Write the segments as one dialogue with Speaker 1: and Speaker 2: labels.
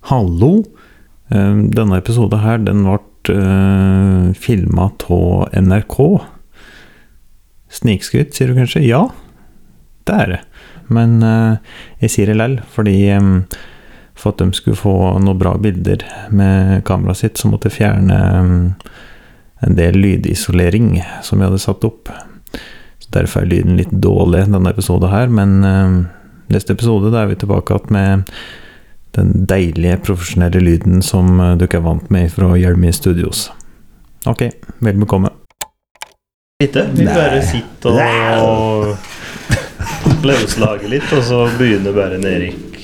Speaker 1: Hallo! Eh, Denne episoden her, den ble uh, filma av NRK. Snikskryt, sier du kanskje? Ja, det er det. Men eh, jeg sier det lell, fordi em, for at de skulle få noen bra bilder med kameraet sitt, så måtte jeg fjerne em, en del lydisolering som jeg hadde satt opp. Så Derfor er lyden litt dårlig denne episoden her, men em, neste episode da er vi tilbake igjen med den deilige, profesjonelle lyden som eh, dere er vant med fra Hjelmi Studios. Ok, vel bekomme.
Speaker 2: Ikke? Vi bare sitter og, og løslager litt, og så begynner bare en Erik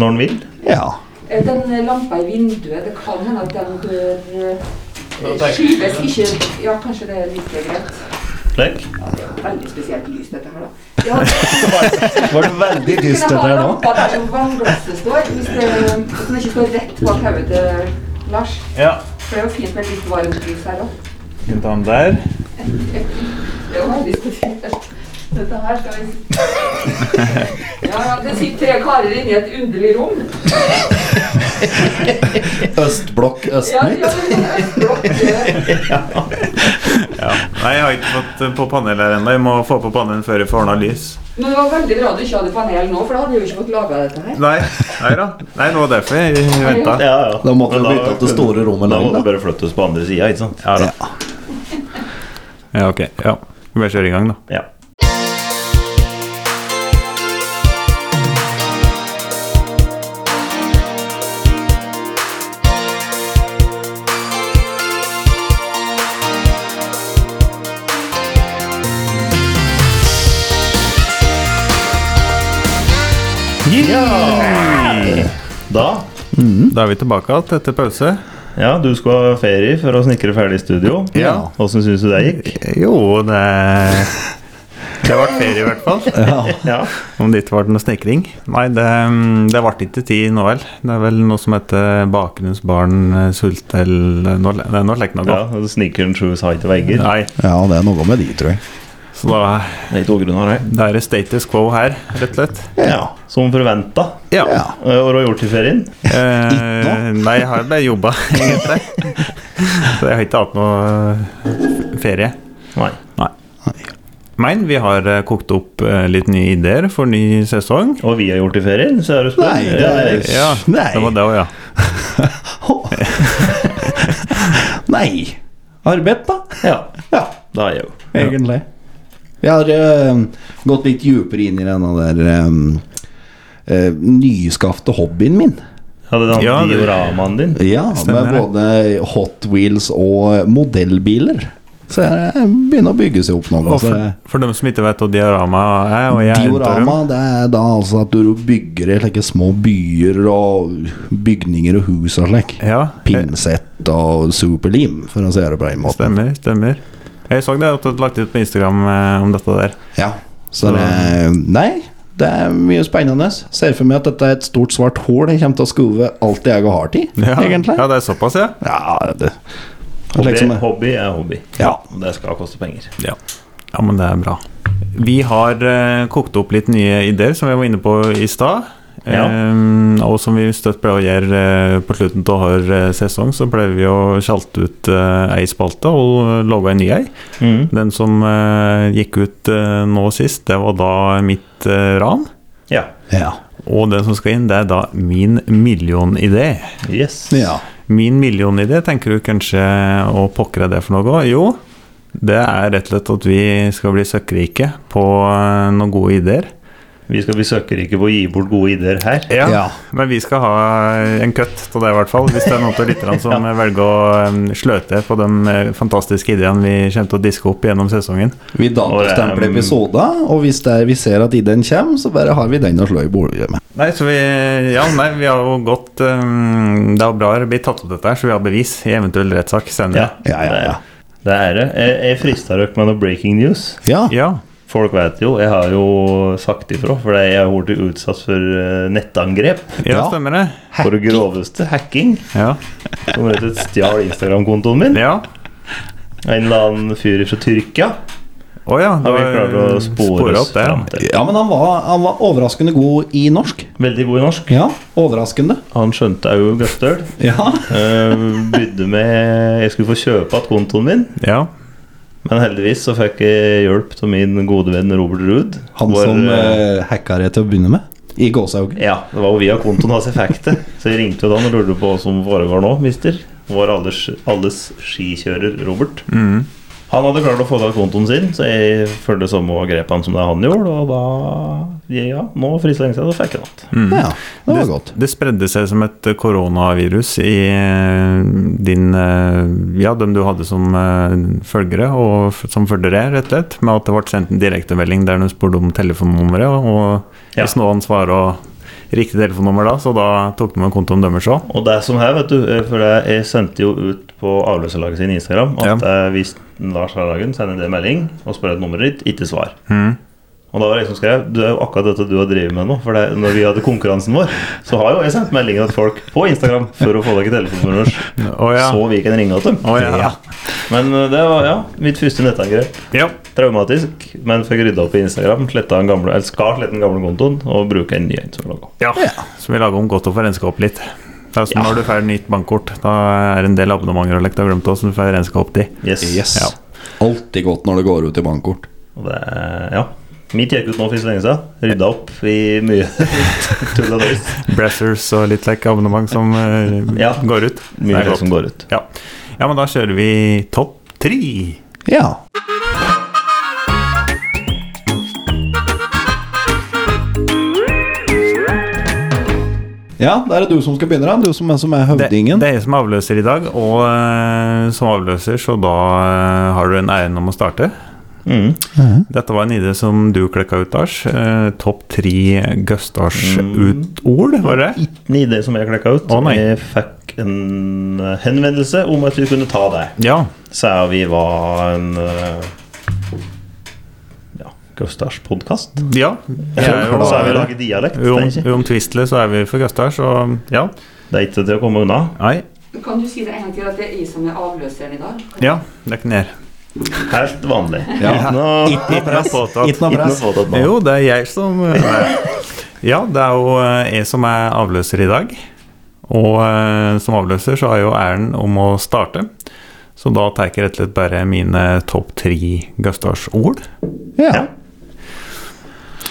Speaker 2: når han vil.
Speaker 3: Ja.
Speaker 4: Eh, Den lampa i vinduet, det kan hende at den bør eh, skyves ikke Ja, kanskje det er litt greit.
Speaker 2: Lek.
Speaker 4: Veldig spesielt lys, dette her, da. Ja,
Speaker 3: Var det veldig dyst dette her nå?
Speaker 4: Lampa der som vannglasset står, hvis det, hvis den ikke står rett bak hodet til Lars.
Speaker 1: Ja.
Speaker 4: For det er jo fint med litt varmt lys her òg.
Speaker 1: Skal vi ta den der?
Speaker 4: Det er jo veldig spesielt. Dette her skal vi Ja, ja, det sitter tre karer inne i et underlig rom.
Speaker 3: Østblokk
Speaker 4: Ja, ja,
Speaker 3: Østnytt?
Speaker 4: men det er flott.
Speaker 5: Nei, jeg har ikke fått eh, på panel her ennå. Jeg må få på panelen før jeg får ordna lys.
Speaker 4: Men det var veldig bra du ikke hadde panel nå, for da hadde vi jo ikke fått laga dette her.
Speaker 5: Nei, nei da. Nei, det var derfor jeg venta.
Speaker 2: Ja, ja.
Speaker 3: Da måtte
Speaker 2: Men
Speaker 3: vi bytte til store rommet
Speaker 2: Da
Speaker 3: lang,
Speaker 2: måtte
Speaker 3: da.
Speaker 2: vi bare flytte oss på andre sida, ikke sant?
Speaker 5: Ja, da. ja, ok. Ja. Vi bare kjører i gang, da.
Speaker 2: Ja. Da
Speaker 5: Da er vi tilbake igjen etter pause.
Speaker 2: Ja, du skulle ha ferie for å snikre ferdig studio.
Speaker 3: Ja.
Speaker 2: Åssen syns du det gikk?
Speaker 5: Jo, det Det ble ferie, i hvert fall.
Speaker 2: Ja.
Speaker 5: Om det ikke ble noe snekring. Nei, det, mm, det ble ikke tid nå vel. Det er vel noe som heter Bakerens barn sultel Nå le- nei, nå leker det
Speaker 2: ja
Speaker 5: noe.
Speaker 2: og Snikeren Trues har ikke vegger.
Speaker 5: Nei,
Speaker 3: Ja, det er noe med de, tror jeg.
Speaker 5: så da
Speaker 2: Det er ikke grunner, nei.
Speaker 5: det er det status quo her, rett og slett.
Speaker 2: Ja. Som forventa.
Speaker 3: Ja.
Speaker 2: Hva har du gjort i ferien?
Speaker 5: Eh, nei, jeg har jo bare jobba, egentlig. Så jeg har ikke hatt noe eh, ferie.
Speaker 2: Nei.
Speaker 5: Men vi har eh, kokt opp eh, litt nye ideer for ny sesong.
Speaker 2: Og vi har gjort i ferien, så er du spør.
Speaker 3: Nei, det er
Speaker 5: Ja,
Speaker 3: Nei.
Speaker 5: det var det òg, ja.
Speaker 3: Nei. Arbeid, da.
Speaker 2: Ja,
Speaker 3: Ja,
Speaker 2: da er jeg jo.
Speaker 3: egentlig. Jeg har eh, gått litt djupere inn i denne der um, nyskapte hobbyen min.
Speaker 2: Ja, det er
Speaker 5: Ja,
Speaker 2: den
Speaker 5: det-
Speaker 2: dioramaen din.
Speaker 3: Ja,
Speaker 5: Stemmer
Speaker 3: med
Speaker 5: det.
Speaker 3: både Hot Wheels og modellbiler. Så jeg begynner å bygge seg opp nå.
Speaker 5: Og
Speaker 3: så
Speaker 5: for, for dem som ikke vet hva diorama er og jeg er en av dem.
Speaker 3: Diorama, det er da altså at du bygger i slike små byer og bygninger og hus og slik.
Speaker 5: Ja, eh,
Speaker 3: Pinsett og superlim, for å si det på den måten.
Speaker 5: stemmer, stemmer. Jeg så det at du hadde lagt ut på Instagram eh, om dette der.
Speaker 3: Ja, så det Nei, det er mye spennende. Ser for meg at dette er et stort svart hull jeg kommer til å skuve alt det jeg har til,
Speaker 5: Ja,
Speaker 3: egentlig.
Speaker 5: Ja, det er såpass, ja?
Speaker 3: Ja, det
Speaker 2: Hobby,
Speaker 3: liksom-
Speaker 2: hobby er hobby.
Speaker 3: Ja.
Speaker 2: Og Det skal koste penger.
Speaker 5: Ja. ja, men det er bra. Vi har eh, kokt opp litt nye ideer, som vi var inne på i stad.
Speaker 2: Ja.
Speaker 5: Eh, og som vi støtt pleier å gjøre eh, på slutten av hver eh, sesong, så pleier vi å sjalte ut eh, ei spalte og eh, lage en ny ei.
Speaker 2: Mhm.
Speaker 5: Den som eh, gikk ut eh, nå sist, det var da mitt eh, ran.
Speaker 2: Ja.
Speaker 3: Ja.
Speaker 5: Og den som skal inn, det er da min millionidé.
Speaker 2: Yes.
Speaker 3: ja.
Speaker 5: Min millionidé, tenker du kanskje å pokker er det for noe? Jo, det er rett og slett at vi skal bli søkkrike på eh, noen gode ideer.
Speaker 2: Vi skal bli søkkrike på å gi bort gode ideer her.
Speaker 3: Ja.
Speaker 5: Men vi skal ha en køtt av det, i hvert fall. Hvis det er noen av lytterne som velger å eh, sløte på de eh, fantastiske ideene vi kommer til å diske opp gjennom sesongen.
Speaker 3: Vi datostempler
Speaker 2: Og det er-
Speaker 3: episoder, og hvis det er, vi ser at ideen kommer, så bare har vi den å slå i bordet med.
Speaker 5: Nei, så vi Ja, nei, vi har jo gått eh, Det er bra det blir tatt opp dette her, så vi har bevis i eventuell rettssak senere.
Speaker 3: Ja, ja, ja.
Speaker 2: Det er det. Jeg, jeg frister dere med noe breaking news.
Speaker 3: Ja,
Speaker 5: Ja.
Speaker 2: Folk vet jo, jeg har jo sagt ifra, for jeg har blitt utsatt for eh, nettangrep.
Speaker 5: Ja,
Speaker 3: Ja.
Speaker 5: stemmer det.
Speaker 2: For det groveste hacking.
Speaker 5: Ja.
Speaker 2: Som rett og slett stjal Instagram-kontoen min.
Speaker 5: ja.
Speaker 2: En eller annen fyr fra Tyrkia.
Speaker 5: Å ja,
Speaker 2: Har vi klart å spore oss
Speaker 5: det?
Speaker 2: fram til.
Speaker 3: Ja, men han var, han var overraskende god i norsk.
Speaker 2: Veldig god i norsk.
Speaker 3: Ja, overraskende.
Speaker 2: Han skjønte òg Gøftøl.
Speaker 3: Ja.
Speaker 2: Uh, begynte med Jeg skulle få kjøpe igjen kontoen min,
Speaker 5: Ja.
Speaker 2: men heldigvis så fikk jeg hjelp av min gode venn Robert Ruud.
Speaker 3: Han
Speaker 2: hvor,
Speaker 3: som
Speaker 2: eh,
Speaker 3: eh, hacka det til å begynne med. I gåsehugget.
Speaker 2: Ja, det var jo via kontoen hans jeg fikk det. Så jeg ringte jo da og lurte på hva som foregår nå, mister. Vår alles, alles skikjører Robert.
Speaker 5: Mm.
Speaker 2: Han hadde klart å få tak i kontoen sin, så jeg følte samme grepene som det han gjorde. Og da Ja, nå frister lenge siden, så fikk jeg det igjen.
Speaker 3: Ja, det var godt.
Speaker 5: Det spredde seg som et eh, koronavirus i eh, din eh, Ja, dem du hadde som eh, følgere, og f- som følgere, rett og slett. Med at det ble sendt en direktemelding der de spurte om telefonnummeret. Og
Speaker 2: Ja.
Speaker 5: hvis noen svarer og riktig telefonnummer da, så da tok de en konto om deres òg.
Speaker 2: Og det som her, vet du, eh, for jeg- jeg sendte jo ut på avløserlaget sin Instagram at eh, hvis Lars Hardagen sender en melding og spør et nummer ditt, ikke svar.
Speaker 5: Mm.
Speaker 2: Og da var det jeg som skrev Du er jo akkurat dette du har drevet med nå. For det, når vi hadde konkurransen vår, så har jo jeg sendt meldinger til folk på Instagram for å få tak i telefonnummeret deres.
Speaker 5: Å ja.
Speaker 2: Så vi kan ringe til dem.
Speaker 5: Å ja.
Speaker 2: Men eh, det var ja, mitt første nettangrep.
Speaker 5: ja.
Speaker 2: Traumatisk, men fikk rydda opp i Instagram. Sletta den gamle, eller skal slette den gamle kontoen og bruke en ny en. som laget.
Speaker 5: Ja. Så vi lager om godt og får renska opp litt. Det er som
Speaker 2: Ja.
Speaker 5: når du får nytt bankkort. Da er det en del abonnementer og lekt du har glemt, også, som du får renska opp de.
Speaker 2: Yes.
Speaker 3: Yes.
Speaker 5: Ja.
Speaker 3: Alltid godt når det går ut i bankkort.
Speaker 2: Og det, er- ja. Mitt gikk ut nå for så lenge siden. Rydda opp i mye tull og tøys.
Speaker 5: Brassers og litt like abonnement som eh,
Speaker 2: Ja.
Speaker 5: går ut.
Speaker 2: Mye
Speaker 5: Det er
Speaker 2: tøys
Speaker 5: godt.
Speaker 2: som går ut.
Speaker 5: Ja. ja, men da kjører vi topp tre.
Speaker 3: Ja. Ja, da er det du som skal begynne, da. Du som er, som er
Speaker 5: Det,
Speaker 3: høvdingen.
Speaker 5: det er jeg som er avløser i dag, og eh, som avløser så da eh, har du en æren om å starte.
Speaker 2: Mm.
Speaker 5: Dette var en idé som du klekka ut, Lars. Eh, Topp tre
Speaker 2: Mm.
Speaker 5: Gøstars-ut-ord, var det?
Speaker 2: En idé som jeg klekka ut.
Speaker 5: Å, nei.
Speaker 2: jeg fikk en eh, henvendelse om at vi kunne ta deg.
Speaker 5: Ja.
Speaker 2: Sa vi var en eh, Ja, Gustavs podkast.
Speaker 5: ja. Mm. Jeg er jo-
Speaker 2: Sa vi lager dialekt. Det er, ikke.
Speaker 5: Uomtvistelig så er vi for Gøstars, og ja.
Speaker 2: det er ikke til å komme unna.
Speaker 5: Nei.
Speaker 4: Kan du si det en gang til at det er jeg som er avløseren i dag?
Speaker 5: Ja, det kan jeg gjøre.
Speaker 2: Helt vanlig.
Speaker 3: Ja.
Speaker 2: Ikke noe-
Speaker 5: Ikke noe påtatt.
Speaker 3: Ikke noe
Speaker 2: ikke noe
Speaker 3: press.
Speaker 2: fåtatt nå.
Speaker 5: Jo, det er jeg som eh, Ja, det er jo eh, jeg som er avløser i dag. Og eh, som avløser så har jeg jo æren om å starte. Så da tar jeg rett og slett bare mine topp tre Gustavs-ord.
Speaker 3: Ja.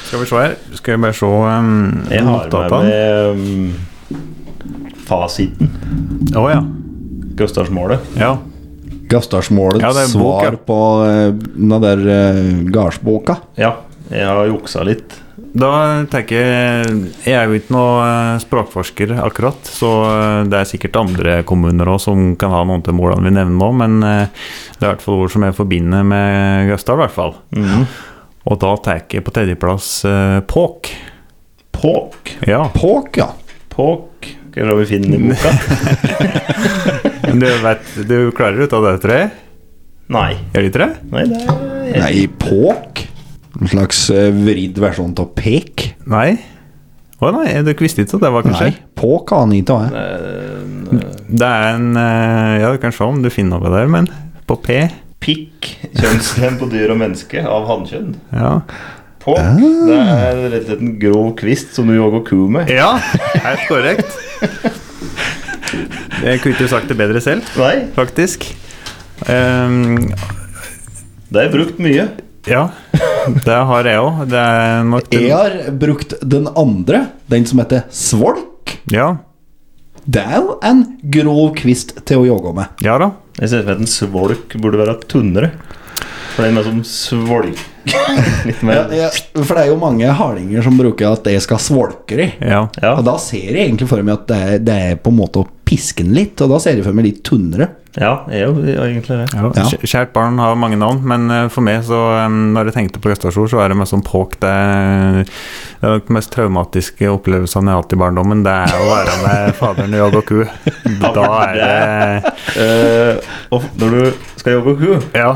Speaker 5: Skal vi se her. Skal vi bare se um,
Speaker 2: Jeg har med
Speaker 5: notatene.
Speaker 2: meg ehm, fasiten.
Speaker 5: Å ja.
Speaker 2: Gustavsmålet.
Speaker 5: ja.
Speaker 3: Gavstadsmålets
Speaker 5: Ja, det er en bok, ja.
Speaker 3: svar på eh, den der uh, gardsboka.
Speaker 2: Ja, jeg har juksa litt.
Speaker 5: Da tenker jeg Jeg er jo ikke noe eh, språkforsker akkurat, så eh, det er sikkert andre kommuner òg som kan ha noen til hvordan vi nevner nå, men eh, det er i hvert fall ord som jeg forbinder med Gausdal, i hvert fall. Og da tar jeg på tredjeplass eh, Påk.
Speaker 2: Påk.
Speaker 5: Ja,
Speaker 3: Påk, ja.
Speaker 2: Påk. Skal vi se om vi finner den i boka?
Speaker 5: men du vet, du klarer ut av det, tror jeg?
Speaker 2: Nei.
Speaker 5: Gjør du ikke det?
Speaker 2: Nei, det er
Speaker 3: Nei, påk? En slags eh, vridd versjon av pek?
Speaker 5: Nei? Å nei, dere visste ikke at det var kanskje?
Speaker 3: Nei, påk aner ikke hva jeg.
Speaker 5: Det er en eh, Ja, du kan se om du finner noe der, men på P
Speaker 2: pikk. Kjønnslemn på dyr og menneske av hannkjønn.
Speaker 5: Ja.
Speaker 2: Påk. Det er rett og slett en grov kvist som du òg går ku med.
Speaker 5: Ja, helt korrekt. Jeg kunne ikke sagt det bedre selv,
Speaker 2: Nei,
Speaker 5: faktisk. Ehm,
Speaker 2: det er brukt mye.
Speaker 5: ja, det har jeg òg. Det er nok
Speaker 3: Jeg har brukt den andre, den som heter svolk.
Speaker 5: Ja,
Speaker 3: Det er jo en grov kvist til å jogge med.
Speaker 5: ja da.
Speaker 2: Jeg ser for meg at en svolk burde være tunnere. For den er som svolk. Litt
Speaker 3: Ja,
Speaker 2: mer
Speaker 3: ja, for det er jo mange hardinger som bruker at det skal svolke i.
Speaker 5: Ja.
Speaker 2: Ja.
Speaker 3: Og da ser jeg egentlig for meg at det er, det er på en måte å piske den litt, og da ser jeg for meg litt tunnere.
Speaker 2: Ja, jeg er jo egentlig det.
Speaker 5: Ja.
Speaker 3: Ja.
Speaker 5: Kj- Kjært barn har mange navn, men eh, for meg, så em, når jeg tenkte på Gøstasjord, så er det mest sånn påk. Det er det er nok den mest traumatiske opplevelsen jeg har hatt i barndommen. Det er å være med faderen i jogg og ku. Da er det
Speaker 2: Eh, og når du skal jogge ku
Speaker 5: Ja.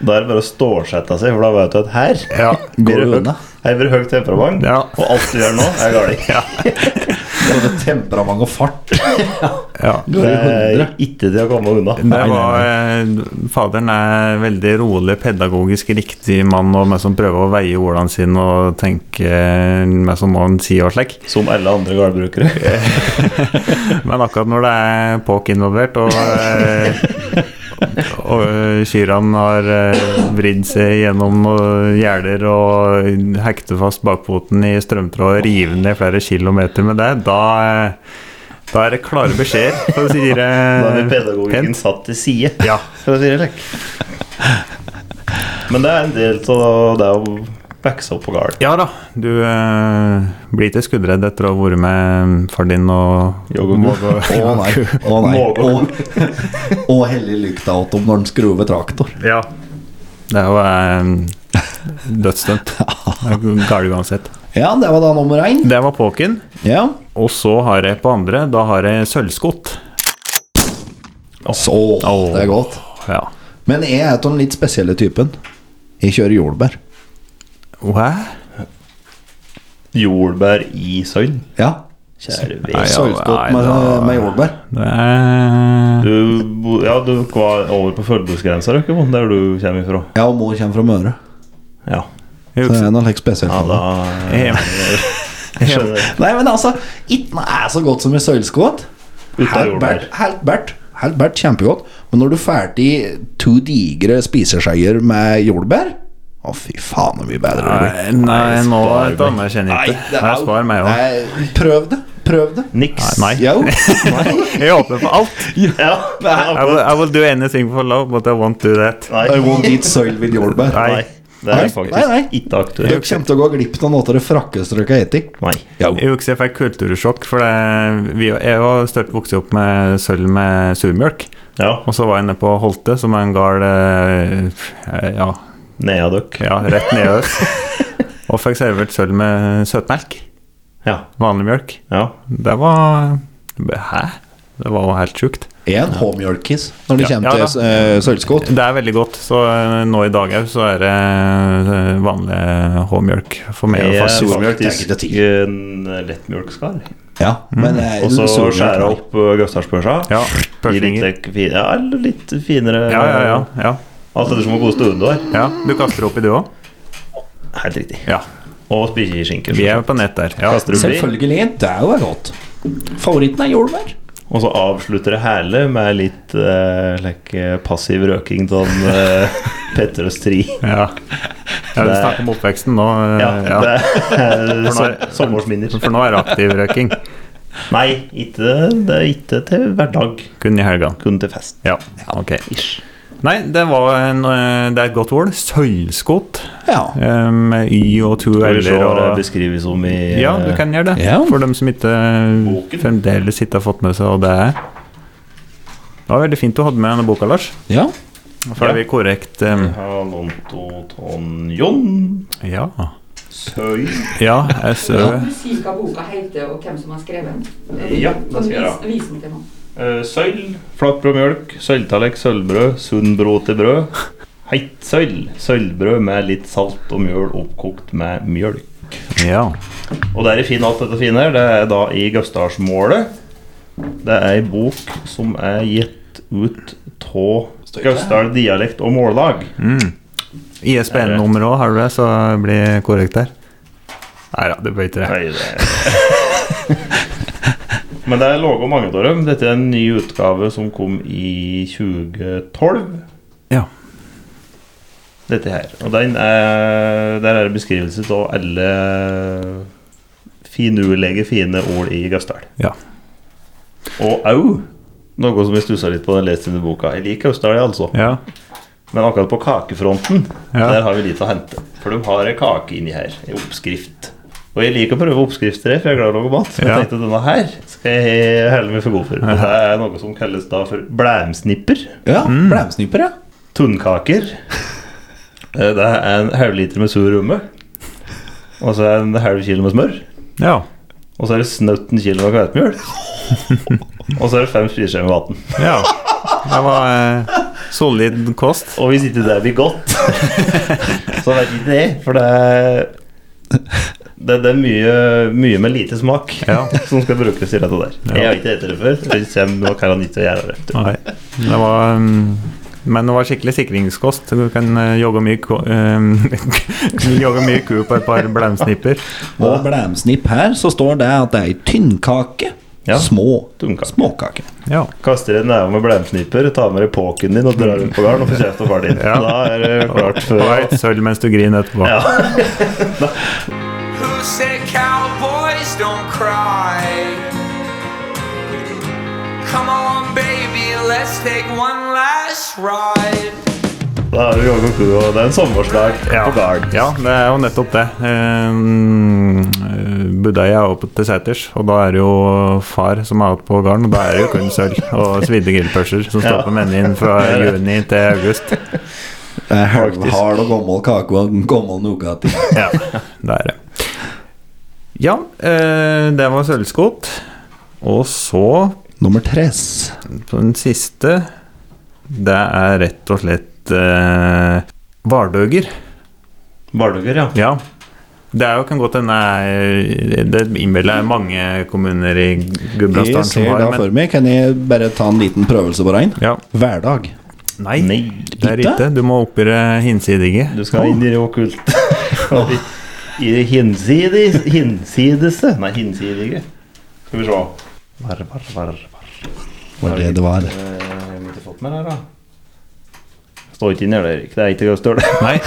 Speaker 2: Da er det bare å stålsette seg, for da vet du at her
Speaker 5: ja.
Speaker 3: Går
Speaker 2: blir
Speaker 3: du
Speaker 2: det
Speaker 3: unna?
Speaker 2: høyt. Heiver høyt temperament,
Speaker 5: Ja.
Speaker 2: og alt du gjør nå, er galt.
Speaker 3: Både temperament og fart.
Speaker 5: ja.
Speaker 3: Du
Speaker 2: Det
Speaker 3: er i
Speaker 5: Eh,
Speaker 2: er
Speaker 3: 100.
Speaker 2: ikke til å komme unna.
Speaker 5: Det var, eh, faderen er veldig rolig, pedagogisk riktig mann og meg som prøver å veie ordene sine og tenke eh, meg som må han si og slik.
Speaker 2: Som alle andre gårdbrukere.
Speaker 5: Eh, Men akkurat når det er Påk involvert og, eh, og eh, kyrne har eh, vridd seg gjennom eh, gjerder og hekter fast bakfoten i strømtråd og river ned flere kilometer med det, da, eh, da er det klare beskjeder, for å si det
Speaker 2: Da er pedagogikken satt til side,
Speaker 5: Ja.
Speaker 2: for å si det slik. Men det er en del av det å vokse opp på gård.
Speaker 5: Ja da, du eh, blir ikke skuddredd etter å ha vært med far din og
Speaker 2: Yogo.
Speaker 5: Mågo.
Speaker 3: Å nei. Å nei.
Speaker 2: Mågo.
Speaker 3: Å, å hellig lykta åt om når den skrur ved traktor.
Speaker 5: Ja. Det er jo eh, dødsdømt. Det er jo Galt uansett.
Speaker 3: Ja, det var da nummer én.
Speaker 5: Det var Påken.
Speaker 3: Ja.
Speaker 5: Og så har jeg på andre, da har jeg sølvskott.
Speaker 3: Så det er godt.
Speaker 5: Ja.
Speaker 3: Men jeg er av den litt spesielle typen. Jeg kjører jordbær.
Speaker 5: Hæ?
Speaker 2: Jordbær i sand.
Speaker 3: Ja.
Speaker 5: Nei,
Speaker 2: Kjære vei.
Speaker 5: ja,
Speaker 3: Sølvskott
Speaker 5: nei,
Speaker 3: med,
Speaker 5: da-
Speaker 3: med jordbær.
Speaker 5: Det er
Speaker 2: Du, bo- ja, du var over på Følgesgrensa, Røkkemo, der du kommer ifra.
Speaker 3: Ja, og mor kommer fra Møre.
Speaker 2: Ja.
Speaker 3: Så det er noe litt spesielt.
Speaker 2: ja da
Speaker 5: Em.
Speaker 2: Jeg skjønner.
Speaker 3: Nei, men altså, ikke noe er så godt som i sølvskott.
Speaker 2: Ut av
Speaker 3: Helt
Speaker 2: jordbær.
Speaker 3: bært, helt bært, helt bært, kjempegodt. Men når du ferdig to digre spiseskeier med jordbær Å, fy faen, så mye bedre det blir.
Speaker 5: Nei, nei nå anerkjenner jeg
Speaker 3: Nei,
Speaker 5: ikke.
Speaker 3: det er
Speaker 5: Jeg
Speaker 3: jo-
Speaker 5: sparer meg òg.
Speaker 3: Nei, Prøv det. Prøv det.
Speaker 2: Niks.
Speaker 5: Nei.
Speaker 3: Jo. Nei.
Speaker 5: Jeg åpner for alt.
Speaker 2: Ja.
Speaker 5: I will, I will do anything for love, but I won't do that.
Speaker 3: I
Speaker 2: Nei.
Speaker 3: won't eat soil with jordbær.
Speaker 5: Nei.
Speaker 2: Det er
Speaker 3: Nei, nei.
Speaker 2: faktisk ikke
Speaker 3: Dere
Speaker 2: aktuelt.
Speaker 3: kommer til å gå glipp av noe av det frakkeste dere har spist.
Speaker 2: Nei.
Speaker 5: Jeg husker jeg fikk kultursjokk, for det, vi, jeg var størt vokst opp med sølv med surmjølk.
Speaker 2: Ja,
Speaker 5: Og så var jeg nede på Holte, som er en gard eh, ja,
Speaker 2: ned av dere.
Speaker 5: ja, rett nede øst. Og fikk servert sølv med søtmelk.
Speaker 2: Ja.
Speaker 5: Vanlig mjølk.
Speaker 2: ja.
Speaker 5: Det var Hæ? Det var jo helt sjukt.
Speaker 3: En håmjølkis når det
Speaker 5: Ja,
Speaker 3: kommer
Speaker 5: ja
Speaker 3: til eh, sølvskott.
Speaker 5: Det er veldig godt, så eh, nå i dag òg så er det eh, vanlig håmjølk for meg.
Speaker 2: Jeg
Speaker 5: og
Speaker 2: er
Speaker 5: fast.
Speaker 3: solmjølk, det er ikke det
Speaker 2: faktisk
Speaker 3: tid.
Speaker 2: en lettmjølkskar.
Speaker 3: Ja,
Speaker 5: Mm.
Speaker 3: men eh,
Speaker 2: Og så
Speaker 3: solmjølk,
Speaker 2: skjærer jeg
Speaker 3: nei.
Speaker 2: opp Gausdalspølsa.
Speaker 5: Ja,
Speaker 2: I litt,
Speaker 5: pølsninger.
Speaker 2: lek- fi- ja, eller litt finere
Speaker 5: Ja, ja, ja, ja,
Speaker 2: Alt etter hvor god stund du har.
Speaker 5: ja. Du kaster opp i du òg?
Speaker 2: Helt riktig.
Speaker 5: Ja.
Speaker 2: Og spiseskinke.
Speaker 5: Vi er jo på nett der. Ja.
Speaker 2: Kaster du bli.
Speaker 3: Selvfølgelig. Det er jo godt. Favoritten er jordbær.
Speaker 2: Og så avslutter det hele med litt eh, like, eh, passiv røking av uh, Petter og Stri.
Speaker 5: Ja. ja vi
Speaker 2: Det-
Speaker 5: snakker om oppveksten nå. eh,
Speaker 2: Ja,
Speaker 5: ja.
Speaker 2: det er
Speaker 5: For nå-
Speaker 2: som- sommersminner.
Speaker 5: For nå er det aktiv røyking.
Speaker 2: Nei, ikke, det er ikke til hverdag.
Speaker 5: Kun i helgene.
Speaker 2: Kun til fest.
Speaker 5: Ja, ok. Nei, det var en, eh, det er et godt ord. Sølvskott.
Speaker 3: Ja.
Speaker 5: eh, Med y og to
Speaker 2: Skal vi se
Speaker 5: l-er
Speaker 2: hva det
Speaker 5: og
Speaker 2: beskrives som i
Speaker 5: eh,
Speaker 2: eh,
Speaker 5: Ja, du kan gjøre det.
Speaker 3: Ja.
Speaker 5: For dem som ikke eh,
Speaker 2: Boken.
Speaker 5: fremdeles ikke har fått med seg hva det er. Det var veldig fint du hadde med denne boka, Lars.
Speaker 3: Ja.
Speaker 5: For det er vi korrekt eh,
Speaker 2: Halonto Tonjon
Speaker 5: Ja.
Speaker 2: Søy
Speaker 5: Ja, jeg så
Speaker 4: Du sier hva boka heter, og hvem som har skrevet den?
Speaker 2: Ja, det skal jeg gjøre.
Speaker 4: Vis- vis den til noen.
Speaker 2: Eh, Sølv, flatbrød mjølk, sølvtallek, sølvbrød, sunnbrå til brød. Heitt sølv, sølvbrød med litt salt og mjøl oppkokt med mjølk.
Speaker 5: Ja.
Speaker 2: Og der i fin alt dette fine her, det er da i Gausdalsmålet. Det er ei bok som er gitt ut av Gausdal dialekt og mållag.
Speaker 5: Mm. ISBN-nummeret òg, har du det, så blir det korrekt der. Nei da, det bør ikke det.
Speaker 2: Nei, det Men det er laga mange av dem. Dette er en ny utgave som kom i 2012.
Speaker 5: Ja.
Speaker 2: dette her. Og den er, der er det beskrivelse av alle finurlige, fine ål i Gausdal.
Speaker 5: Ja.
Speaker 2: Og au, noe som jeg stussa litt på da jeg leste denne boka. Jeg liker Gausdal, jeg, altså.
Speaker 5: ja.
Speaker 2: Men akkurat på kakefronten,
Speaker 5: Ja.
Speaker 2: der har vi litt å hente. For de har ei kake inni her, ei oppskrift. Og jeg liker å prøve oppskrifter, jeg, for jeg er glad i å lage mat. Så jeg
Speaker 5: Ja.
Speaker 2: tenkte at denne her skal jeg helle meg for god for. Og det er noe som kalles da for blæmsnipper.
Speaker 3: ja.
Speaker 2: Mm.
Speaker 3: Blemsniper, ja.
Speaker 2: Tunnkaker. Eh, Det er en halv liter med sur rømme. Og så er det en halv kilo med smør.
Speaker 5: Ja.
Speaker 2: Og så er det snauten kilo med kveitmjøl. Og så er det fem spiseskjeer med vann.
Speaker 5: ja. Det var eh, solid kost.
Speaker 2: Og hvis ikke det blir godt, så vet ikke det. For det er Det, det er mye, mye med lite smak
Speaker 5: Ja.
Speaker 2: som skal brukes i dette der. Jeg har ikke spist det før. så Jeg kommer nok her og nyter å gjøre det.
Speaker 5: Nei. Det var um, men det var skikkelig sikringskost. Du kan eh, jogge mye, ko- eh, jogge mye ku på et par blemsnipper.
Speaker 3: Og blemsnipp her, så står det at det er ei tynnkake.
Speaker 2: Ja.
Speaker 3: Små
Speaker 2: Tynnkake.
Speaker 3: småkake.
Speaker 5: Ja.
Speaker 2: Kaster en neve med blemsniper, tar med deg poken din og drar ut på gården og får kjeft av far din.
Speaker 5: Ja.
Speaker 2: Da er det klart
Speaker 5: Og
Speaker 2: for
Speaker 5: et sølv mens du griner etterpå.
Speaker 2: Ja.
Speaker 6: Who said cowboys don't cry? Come on, baby, let's take one last ride.
Speaker 2: Da er du jogga ku, og det er en sommersdag på gården.
Speaker 5: Ja, det er jo nettopp det. Um, Budeia er oppe til seters, og da er det jo far som er oppe på gården. Og da er det jo kun sølv og svidde grillpølser som står på menyen fra juni til august.
Speaker 3: Det er halv- Hard og gammel kake og gammel nougat. i.
Speaker 5: Ja, det er det. Ja, eh, det var sølvskott. Og så,
Speaker 3: Nummer tres.
Speaker 5: på den siste, det er rett og slett eh, Vardøger.
Speaker 2: Barduker, ja.
Speaker 5: Ja. Det er jo kan godt hende eh, Det innbiller jeg mange kommuner i
Speaker 3: Jeg
Speaker 5: Gudbrandsdalen som
Speaker 3: ser da
Speaker 5: har, men
Speaker 3: for meg. Kan jeg bare ta en liten prøvelse på rein?
Speaker 5: ja.
Speaker 3: Hverdag.
Speaker 5: Nei,
Speaker 2: Nei.
Speaker 5: det er
Speaker 3: Ikke?
Speaker 5: ikke. Du må opp i det hinsidige.
Speaker 2: Du skal inn i det okkulte. Og i- I det hinsides, hinsideste Nei, hinsidige. Skal vi se. Var, var, var, var.
Speaker 3: Var det det var?
Speaker 2: Eh, Jeg har ikke fått med det her, da. Står ikke inni det, Erik. Det er ikke det står det.
Speaker 5: Nei,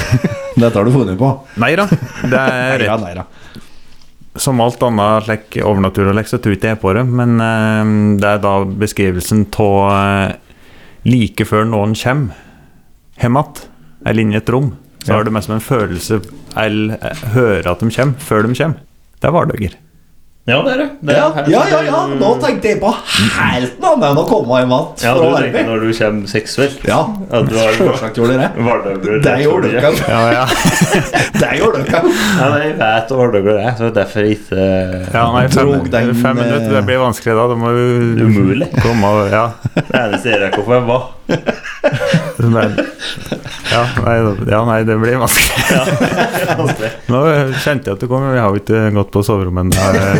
Speaker 3: Dette har du funnet på?
Speaker 5: nei da. Det er rett.
Speaker 3: nei da.
Speaker 5: Som alt annet slik overnaturlig lek, så tror ikke jeg på det, men eh, det er da beskrivelsen av eh, like før noen kommer hjem igjen, eller inn i et rom, så er det mest som en følelse eller eh, høre at de kommer, før de kommer. Det er hverdager.
Speaker 2: Ja, det er det. det er
Speaker 3: Ja,
Speaker 2: her.
Speaker 3: ja, ja, ja. Nå tenkte jeg på helt noe annet enn å komme hjem igjen
Speaker 2: Ja,
Speaker 3: fra
Speaker 2: du tenker
Speaker 3: arbeid.
Speaker 2: når du kommer seksuelt.
Speaker 3: Ja,
Speaker 2: At du har
Speaker 3: selvsagt gjorde jeg det.
Speaker 2: Vardøger.
Speaker 3: Det gjorde du ikke.
Speaker 5: Ja, ja.
Speaker 3: Det gjorde du ikke.
Speaker 2: Ja, men jeg vet hva Vardøger er, så det er derfor jeg ikke
Speaker 5: nei, fem,
Speaker 3: Drog den, eh,
Speaker 5: fem minutter, det blir vanskelig da. Det må jo
Speaker 2: Umulig.
Speaker 5: komme og Ja.
Speaker 2: eh, Det eneste jeg rekker å få, er hva.
Speaker 5: Men, ja, nei, ja, nei, det blir vanskelig. Nå kjente jeg at du kom, men vi har jo ikke gått på soverommet ennå. Nei,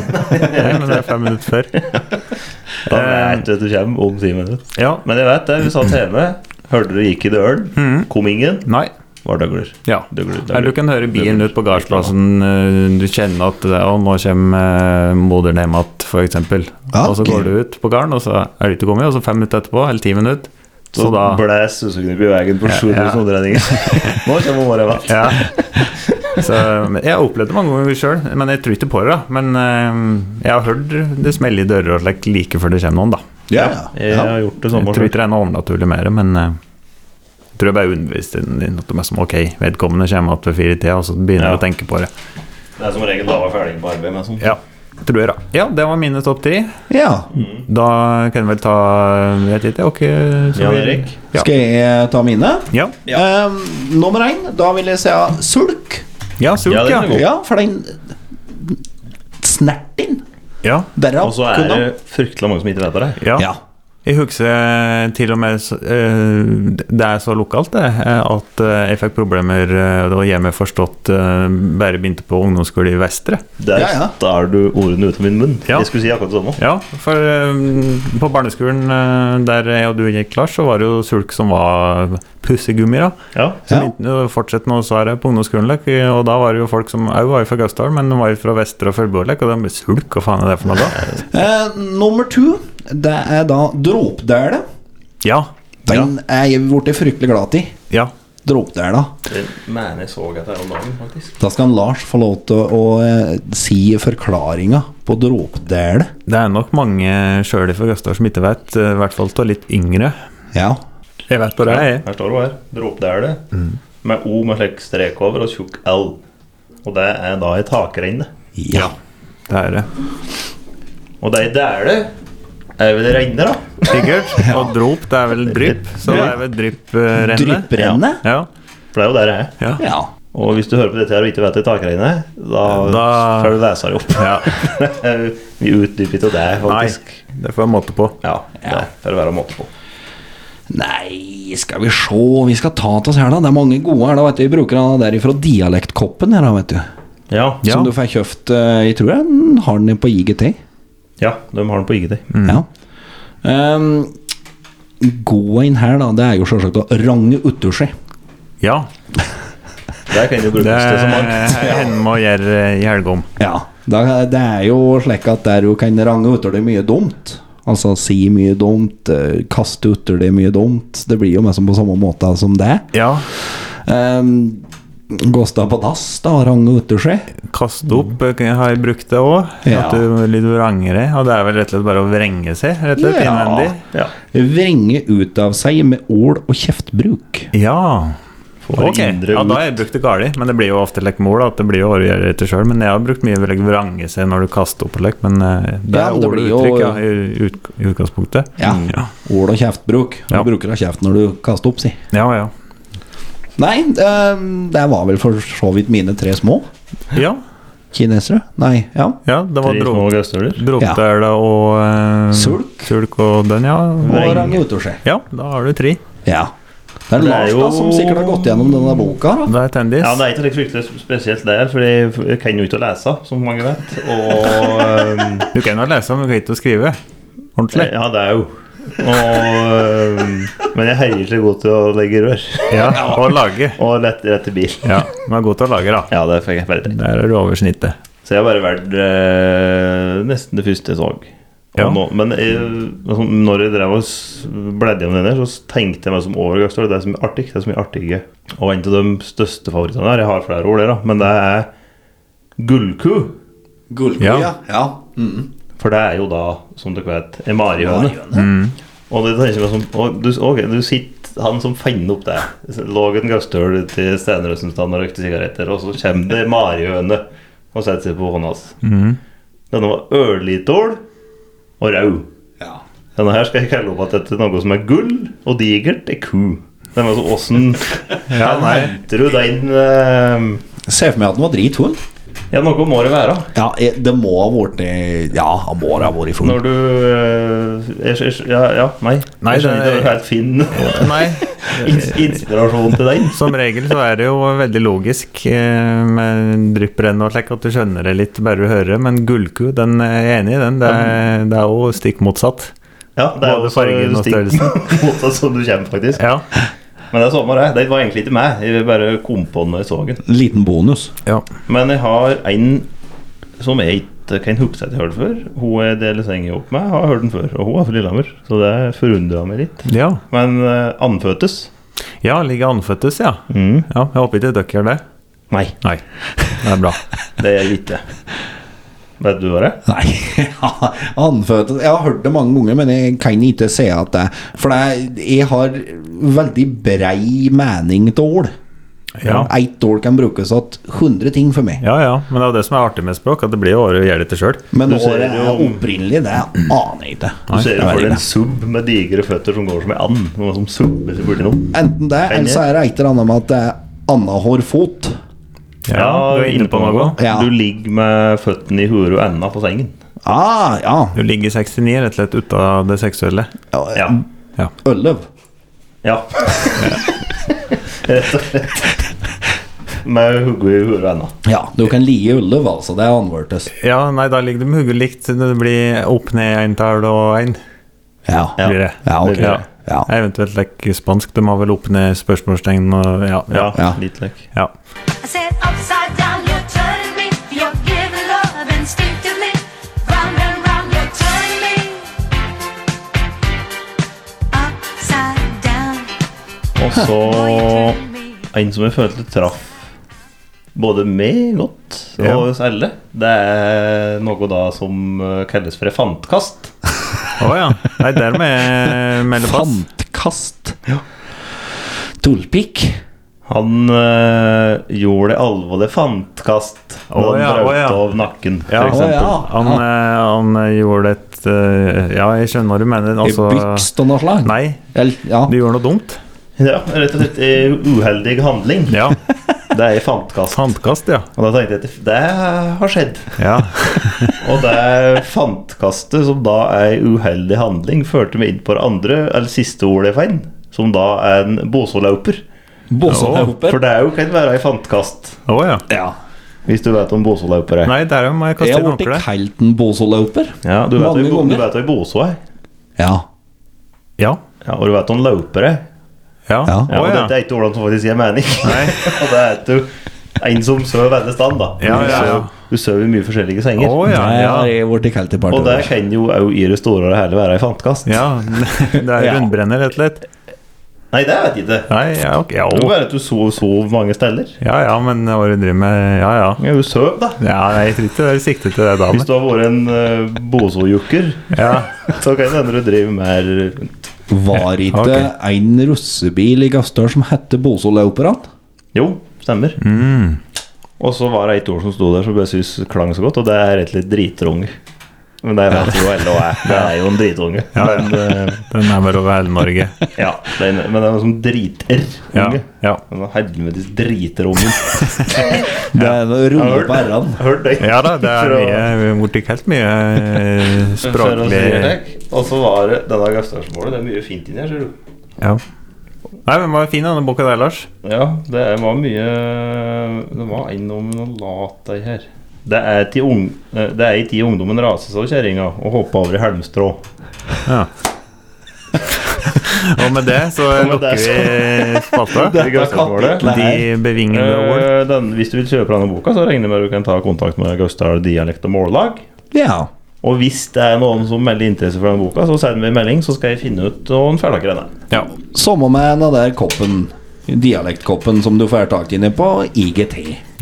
Speaker 5: Men det er fem minutter før.
Speaker 2: Da
Speaker 3: Eh.
Speaker 2: vet du at du kommer om ti minutter.
Speaker 5: Ja.
Speaker 2: Men jeg vet det. Vi satt hjemme, hørte du gikk i døren,
Speaker 3: Mm.
Speaker 2: kom ingen,
Speaker 5: Nei.
Speaker 2: Vardøgler.
Speaker 5: Ja.
Speaker 2: Døgler, døgler.
Speaker 5: Eller du kan høre bilen ut på gardsplassen. eh, Du kjenner at det, å, nå kommer eh, moderen hjem igjen, f.eks.
Speaker 3: Ja,
Speaker 5: Og så
Speaker 3: ok.
Speaker 5: går du ut på garden, og så er du ikke kommet, og så fem minutter etterpå, eller ti minutter,
Speaker 2: Så,
Speaker 5: så da
Speaker 2: blæs suseknipp i veien på 7000
Speaker 5: ja.
Speaker 2: omdreininger. Nå kommer morgenen. da.
Speaker 5: Ja. Så, men jeg har opplevd det mange ganger sjøl, men jeg tror ikke på det. da Men eh, jeg har hørt det smelle i dører og slik like før det kommer noen, da.
Speaker 3: Ja,
Speaker 2: Jeg
Speaker 3: ja.
Speaker 2: har gjort det
Speaker 5: Jeg
Speaker 2: samme
Speaker 5: tror
Speaker 2: selv.
Speaker 5: ikke det er noe overnaturlig mer, men eh, jeg tror jeg bare underbeviste den at de er som ok, vedkommende kommer igjen ved fire i tida, og så begynner
Speaker 2: Ja.
Speaker 5: jeg å tenke på det.
Speaker 2: Det er som regel da var ferdig på arbeid med sånn.
Speaker 5: Ja, tror jeg da. Ja, det var mine topp tre.
Speaker 3: ja.
Speaker 5: Da kan jeg vel ta Jeg vet ikke, ok så-
Speaker 2: Jan Erik?
Speaker 5: Ja.
Speaker 3: Skal jeg ta mine?
Speaker 5: Ja,
Speaker 3: Eh, nummer én, da vil jeg si ja, sulk.
Speaker 5: ja sult,
Speaker 2: Ja, det
Speaker 5: ja.
Speaker 2: kan
Speaker 5: Ja.
Speaker 2: vi godt.
Speaker 3: Ja, for den snerten
Speaker 5: ja.
Speaker 3: Derav
Speaker 2: Og så er det fryktelig mange som ikke vet det. her.
Speaker 3: Ja.
Speaker 5: Jeg husker til og med så- eh, Det er så lokalt, det, eh, at eh, jeg fikk problemer eh, da hjemme forstått eh, bare begynte på ungdomsskole i Vestre.
Speaker 2: Der
Speaker 3: Ja, ja.
Speaker 2: tar du ordene ut av min munn.
Speaker 5: Ja.
Speaker 2: Jeg skulle si akkurat det samme.
Speaker 5: Ja, for eh, på barneskolen eh, der jeg og du gikk, Lars, så var det jo sulk som var pussegummi, da.
Speaker 2: Ja.
Speaker 3: Ja.
Speaker 5: Så ja. fortsett nå, sa jeg på ungdomsskolen, like, og da var det jo folk som òg var jo fra Gausdal, men de var jo fra Vestre og Følgeborg, og de sulk, hva faen er det for noe da?
Speaker 3: Eh, nummer to, det er da dråpdæla.
Speaker 5: Ja.
Speaker 3: Den er jeg blitt fryktelig glad i.
Speaker 5: Ja.
Speaker 3: Dråpdæla.
Speaker 2: Det mener jeg så at det er om dagen, faktisk.
Speaker 3: Da skal Lars få lov til å, å eh, si forklaringa på dråpdæla.
Speaker 5: Det er nok mange sjøl fra Gausdal som ikke vet, eh, i hvert fall av litt yngre.
Speaker 3: Ja.
Speaker 5: Jeg vet bare det, jeg.
Speaker 2: Her står det her. Dråpdæle.
Speaker 5: Mm.
Speaker 2: Med O med slik strek over og tjukk L. Og det er da ei takreine.
Speaker 3: Ja.
Speaker 5: Det er det.
Speaker 2: Og det er ei dæle. Er vel reine, da?
Speaker 5: Sikkert. Og drop, det er vel drypp. Så det er vel drypprenne.
Speaker 3: Drypprenne.
Speaker 5: Ja.
Speaker 2: For det er jo der jeg er.
Speaker 5: ja.
Speaker 3: Ja.
Speaker 2: Og hvis du hører på dette her og ikke vet det takreine, da, da...
Speaker 5: Da-
Speaker 2: får du lese det opp.
Speaker 5: Ja.
Speaker 2: Vi utdyper ikke det,
Speaker 5: Nei,
Speaker 2: faktisk.
Speaker 5: det får jeg måte på.
Speaker 2: Ja, det får det være måte på.
Speaker 3: Nei, skal vi sjå, vi skal ta til oss her, da. Det er mange gode her, da, vet du. Vi bruker den der ifra dialektkoppen her, da, vet du.
Speaker 2: Ja.
Speaker 3: Som du får kjøpt eh, Jeg tror den har den på IGT.
Speaker 2: ja, de har den på IGT.
Speaker 5: Mm.
Speaker 3: Ja. Ehm, gå inn her, da. Det er jo selvsagt å range utusje.
Speaker 5: Ja,
Speaker 2: Der kan det brukes
Speaker 5: det
Speaker 2: til så
Speaker 5: er
Speaker 2: mangt.
Speaker 5: henne og gjør i helgom.
Speaker 3: Ja. Da, det er jo slik at der du kan range utover det mye dumt. Altså si mye dumt, eh, kaste utover det mye dumt. Det blir jo mest på samme måte som det.
Speaker 5: Ja,
Speaker 3: Um, Gåstad på dass, da. Range utusje.
Speaker 5: kaste opp eh, har jeg brukt det òg.
Speaker 3: Ja.
Speaker 5: At du litt vrangere. Og det er vel rett og slett bare å vrenge seg, rett og slett
Speaker 3: Ja.
Speaker 5: innvendig.
Speaker 2: Ja.
Speaker 3: Vrenge ut av seg med ål og kjeftbruk.
Speaker 5: Ja.
Speaker 2: Får
Speaker 5: ok,
Speaker 2: indre
Speaker 5: ja, da
Speaker 2: ut.
Speaker 5: har jeg brukt det galt, men det blir jo ofte like mål. At det blir jo å gjøre dette selv, Men jeg har brukt mye like, vrange seg når du kaster opp og like, men eh, det er
Speaker 3: Ja, men det
Speaker 5: åle
Speaker 3: blir jo-
Speaker 5: uttrykk ja, i, ut, i utgangspunktet. Mm.
Speaker 3: Ja.
Speaker 5: ja.
Speaker 3: Ål og kjeftbruk. Du
Speaker 5: Ja.
Speaker 3: bruker da kjeft når du kaster opp, si.
Speaker 5: Ja, ja.
Speaker 3: Nei, ehm, det var vel for så vidt mine tre små
Speaker 5: ja,
Speaker 3: kinesere. Nei, ja.
Speaker 5: ja det var
Speaker 2: Tre
Speaker 5: dro-
Speaker 2: små gaustøler.
Speaker 5: Bråkdæla og eh,
Speaker 3: Sulk.
Speaker 5: og den, ja.
Speaker 3: Og
Speaker 2: Vrenge.
Speaker 3: Rangutusje.
Speaker 5: Ja, da har du tre.
Speaker 3: Ja. Det er
Speaker 2: Det er
Speaker 3: Lars da
Speaker 2: jo-
Speaker 3: som sikkert har gått gjennom denne boka. Da.
Speaker 5: Det er tendis.
Speaker 2: Ja, det er ikke like fryktelig spesielt der, for jeg kan jo ikke å lese, som mange vet. Og ehm,
Speaker 5: Du kan jo lese, men du kan ikke skrive. Ordentlig.
Speaker 2: Ja, det er jo og, ehm, Men jeg heier ikke god til å legge rør.
Speaker 5: Ja, Og lage.
Speaker 2: Og lett, rett til bil.
Speaker 5: Ja, Du er god til å lage, da.
Speaker 2: Ja, det fikk jeg bare til.
Speaker 5: Der er du over snittet.
Speaker 2: Så jeg har bare valgt eh, nesten det første jeg så. Og
Speaker 5: Ja.
Speaker 2: Nå, men jeg, altså, når jeg drev og s- bladde gjennom den der, så tenkte jeg meg som over Gausdal. Det er så mye artig. Det er så mye artige. Og en av de største favorittene her, jeg har flere ord der, da, men det er gullku.
Speaker 5: Ja.
Speaker 3: ja. Mm.
Speaker 2: For det er jo da, som dere vet, en marihøne. Og det tenker jeg meg som og du, ok, du sitter han som fant opp det. Lå en gasstøl til Stenrøsenstand og røykte sigaretter, og så kommer det marihøne og setter seg på hånda hans.
Speaker 5: Mhm.
Speaker 2: Denne var ørlitål og rau. Mm.
Speaker 3: Ja.
Speaker 2: Denne her skal jeg kalle opp at dette er noe som er gull og digert, er ku. Den var så åssen
Speaker 5: Ja, nei.
Speaker 2: Henter du den eh,
Speaker 3: Se for meg at den var dritfull.
Speaker 2: Ja, noe må det være.
Speaker 3: Ja, eh, det må ha vært eh, Ja, han må ha vært full.
Speaker 2: Når du eh, jeg, jeg, Ja, ja nei.
Speaker 5: Nei,
Speaker 2: jeg skjønner
Speaker 5: det-
Speaker 2: ikke at det er helt fin
Speaker 5: Nei.
Speaker 2: ins inspirasjon til den.
Speaker 5: Som regel så er det jo veldig logisk eh, med drypprenn og slik at du skjønner det litt bare du hører, men gullku, den er jeg enig i, den. Det er, det er jo stikk motsatt.
Speaker 2: Ja, det er
Speaker 5: Både
Speaker 2: jo så
Speaker 5: fargen og
Speaker 2: stikk motsatt som du kommer, faktisk.
Speaker 5: Ja.
Speaker 2: Men det er samme det. Den var egentlig ikke meg. Jeg bare kom på den når jeg så den.
Speaker 3: Liten bonus.
Speaker 5: ja.
Speaker 2: Men jeg har en som jeg ikke kan huske at jeg har hørt før. Hun jeg deler seng i opp med, har hørt den før. Og hun er fra Lillehammer, så det forundra meg litt.
Speaker 5: Ja,
Speaker 2: Men eh, andføttes?
Speaker 5: ja ligger anføttes, ja.
Speaker 2: Mm.
Speaker 5: ja. Jeg håper ikke dere gjør det.
Speaker 2: Nei,
Speaker 5: Nei, det er bra.
Speaker 2: det gjør vi ikke. Vet du hva det er?
Speaker 3: Nei, anfødt Jeg har hørt det mange ganger, men jeg kan ikke si at det For det, jeg har veldig brei mening til ål.
Speaker 5: Ja.
Speaker 3: Ett ål kan brukes til 100 ting for meg.
Speaker 5: Ja ja, men det er jo det som er artig med språk, at det blir jo bare å gjøre dette sjøl.
Speaker 3: Men
Speaker 2: Du ser
Speaker 3: året er
Speaker 2: jo-
Speaker 3: opprinnelig, det aner jeg ikke.
Speaker 2: Du ser
Speaker 3: Det
Speaker 2: jo
Speaker 3: vet
Speaker 2: for
Speaker 3: jeg
Speaker 2: deg en
Speaker 3: ikke.
Speaker 2: sub med digre føtter som går som en and. Noe som subber seg borti noe.
Speaker 3: Enten det, eller så er det et eller annet med at det er annenhver fot.
Speaker 5: Ja, du er inne på noe.
Speaker 3: Ja.
Speaker 2: Du ligger med føttene i huet og enda på sengen.
Speaker 3: Ah, ja.
Speaker 5: Du ligger 69, rett og slett ut av det seksuelle.
Speaker 2: Ja.
Speaker 5: Ja.
Speaker 3: Øllev.
Speaker 2: ja. Rett og slett. Med hodet i huet og enda.
Speaker 3: Ja, du kan lie øllev, altså. Det er anvørtes.
Speaker 5: ja, nei, da ligger det med hodet likt. Det blir opp ned eintall og én.
Speaker 3: Ja.
Speaker 2: Ja.
Speaker 5: Blir det.
Speaker 3: Ja, ok.
Speaker 5: Ja.
Speaker 3: Ja.
Speaker 5: Eventuelt like spansk. De har vel opp ned spørsmålstegn og ja.
Speaker 2: Ja,
Speaker 5: ja.
Speaker 3: Ja.
Speaker 2: litt lekk.
Speaker 5: ja.
Speaker 7: I said upside down, you're turning me. You're giving love instinctively. Round and round, you're turning me. Upside down.
Speaker 2: Og så
Speaker 7: Boy, you're
Speaker 2: Oh.
Speaker 7: turning me.
Speaker 2: en som jeg følte traff både meg godt og
Speaker 5: Ja.
Speaker 2: oss alle. Det er noe da som eh, kalles for elefantkast.
Speaker 5: Å ja. Nei, der må jeg melde pass.
Speaker 3: Fantkast. Tullpikk.
Speaker 2: Han eh, gjorde det alvorlig fantkast da
Speaker 5: Å
Speaker 2: han
Speaker 5: ja, å
Speaker 2: brøt
Speaker 5: ja.
Speaker 2: av nakken,
Speaker 5: Ja.
Speaker 2: for
Speaker 3: Å
Speaker 2: eksempel.
Speaker 3: ja.
Speaker 5: Han, eh, han gjorde et eh, Ja, jeg skjønner hva du mener.
Speaker 3: I
Speaker 5: Altså
Speaker 3: bykst og noe slag.
Speaker 5: Nei,
Speaker 3: Eller, ja.
Speaker 5: du gjorde noe dumt.
Speaker 2: Ja, rett og slett eh, uheldig handling.
Speaker 5: Ja.
Speaker 2: Det er fantkast.
Speaker 5: Handkast, ja.
Speaker 2: Og da tenkte jeg at det har skjedd.
Speaker 5: Ja.
Speaker 2: Og det fantkastet, som da er en uheldig handling, førte meg inn på det andre, eller siste ordet jeg fant, som da er en båsolauper.
Speaker 3: Båsehopper.
Speaker 2: For det er jo kan være ei fantkast.
Speaker 5: Å ja.
Speaker 3: Ja.
Speaker 2: Hvis du vet om Bosoløpere.
Speaker 5: Nei, der må jeg kaste
Speaker 3: Jeg
Speaker 5: inn
Speaker 3: ble
Speaker 5: håndkleet.
Speaker 3: kalt en Bosoløper.
Speaker 2: Ja, du vet
Speaker 3: Mange
Speaker 2: jo du
Speaker 3: ganger.
Speaker 2: vet jo i Boso er.
Speaker 3: Ja.
Speaker 5: Ja.
Speaker 2: Ja, og du vet om løpere.
Speaker 5: Ja.
Speaker 3: Ja.
Speaker 5: Å,
Speaker 2: Ja, og
Speaker 5: ja.
Speaker 2: dette er ikke hvordan som faktisk gir mening. og det er at du en som sover veldig stand, da.
Speaker 5: Ja, ja, ja.
Speaker 2: Du sover- Du sover i mye forskjellige senger.
Speaker 5: Å, ja,
Speaker 3: Nei,
Speaker 5: ja.
Speaker 3: Jeg ble kalt et par
Speaker 2: Og det
Speaker 3: dager.
Speaker 2: kan jo òg i det store og det hele være ei fantekast.
Speaker 5: ja. Det er
Speaker 3: Ja.
Speaker 5: rundbrenner, rett og slett.
Speaker 2: Nei, det vet jeg ikke.
Speaker 5: Nei, ja, ok. Ja,
Speaker 2: Det var
Speaker 5: å.
Speaker 2: bare at du sov, sov mange steder.
Speaker 5: ja, ja, men hva er det du driver med? Ja, ja.
Speaker 2: Ja, du sov, da.
Speaker 5: Ja, nei, jeg tror ikke det er siktet til det da.
Speaker 2: Hvis
Speaker 5: men-
Speaker 2: du har vært en uh, bosojukker,
Speaker 5: Ja.
Speaker 2: så kan det hende du driver mer rundt.
Speaker 3: Var ikke
Speaker 5: Ok.
Speaker 3: en russebil i Gassdør som hette Bosoløperen?
Speaker 2: Jo, stemmer.
Speaker 5: Mm.
Speaker 2: Og så var det ett ord som sto der som jeg bare syntes klang så godt, og det er rett og slett dritrunge. Men det vet jo alle hva er. Det er jo en dritunge. Men, eh,
Speaker 5: Den er bare over hele Norge.
Speaker 2: ja, det er, en- men det er noe som driter
Speaker 5: Ja, ja.
Speaker 2: Altså, Helvetes driterungen.
Speaker 3: Det er noe
Speaker 2: Jeg har
Speaker 3: rulle
Speaker 2: hørt-
Speaker 3: på r-ene.
Speaker 2: hørt det.
Speaker 5: Ja da, det er
Speaker 2: For å-
Speaker 5: mye, borti helt mye eh,
Speaker 2: for å si
Speaker 5: språklig
Speaker 2: det. Og så var det denne gassdørsmålet. Det er mye fint inni her, ser du.
Speaker 5: ja. Nei, men var fin denne boka der, Lars.
Speaker 2: Ja, det er- var mye Det var en om noe lat ei her. Det er, til ung, eh, det er i tid ungdommen rases av kjerringa og hopper over i helmstrå.
Speaker 5: Ja. Og med det så
Speaker 2: Og med
Speaker 5: lukker
Speaker 2: det
Speaker 5: vi spalta.
Speaker 2: I Gausdalsmålet.
Speaker 3: kapitlet
Speaker 5: De bevingede ord.
Speaker 2: Eh, den, hvis du vil kjøpe denne boka, så regner jeg med at du kan ta kontakt med Gausdal dialekt og mållag.
Speaker 3: Ja.
Speaker 2: Og hvis det er noen som melder interesse for denne boka, så send meg en melding, så skal jeg finne ut om den ferdig denne.
Speaker 5: Ja.
Speaker 3: Samme med den der koppen. Dialektkoppen som du får tak i ned på IGT.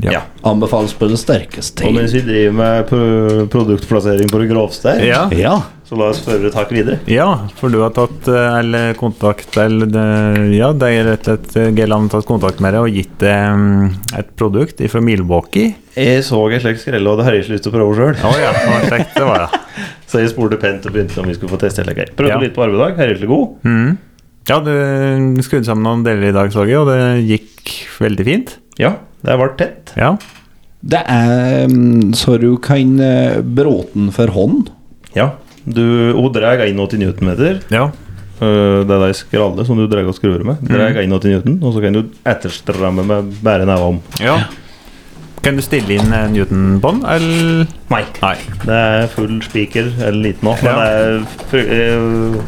Speaker 5: Ja.
Speaker 3: Anbefales på det sterkeste.
Speaker 2: Og mens vi driver med pro- produktplassering på det grovste, her,
Speaker 5: Ja.
Speaker 3: Ja.
Speaker 2: så la oss føre takk videre.
Speaker 5: Ja, for du har tatt eh, eller kontakt eller det- Ja, det er rett og slett Gelland har tatt kontakt med deg og gitt deg mm, et produkt fra Milwaukee.
Speaker 2: Jeg så ei slik skrelle, og det har jeg ikke lyst til å prøve sjøl.
Speaker 5: Å ja, det var kjekt, det var det.
Speaker 2: Så jeg spurte pent og begynte om vi skulle få teste hele greia. Prøvde
Speaker 5: Ja.
Speaker 2: litt på arbeidsdag, herregud god.
Speaker 5: Ja, du skrudde sammen noen deler i dag, så jeg, og det gikk veldig fint.
Speaker 2: Ja, det var tett.
Speaker 5: Ja.
Speaker 3: Det er mm, så du kan eh, bråten for hånd.
Speaker 2: Ja. Du hun drar 81 newtonmeter.
Speaker 5: Ja.
Speaker 2: øh, Det er de skralle som du drar og skrur med. Drar
Speaker 5: Mm.
Speaker 2: 81 newton, og så kan du etterstramme med bare neva om.
Speaker 5: ja. Kan du stille inn eh, Newton-bånd, eller
Speaker 2: Nei.
Speaker 5: Nei.
Speaker 2: Det er full spiker, eller liten òg, men
Speaker 5: Ja.
Speaker 2: det er fru- øh,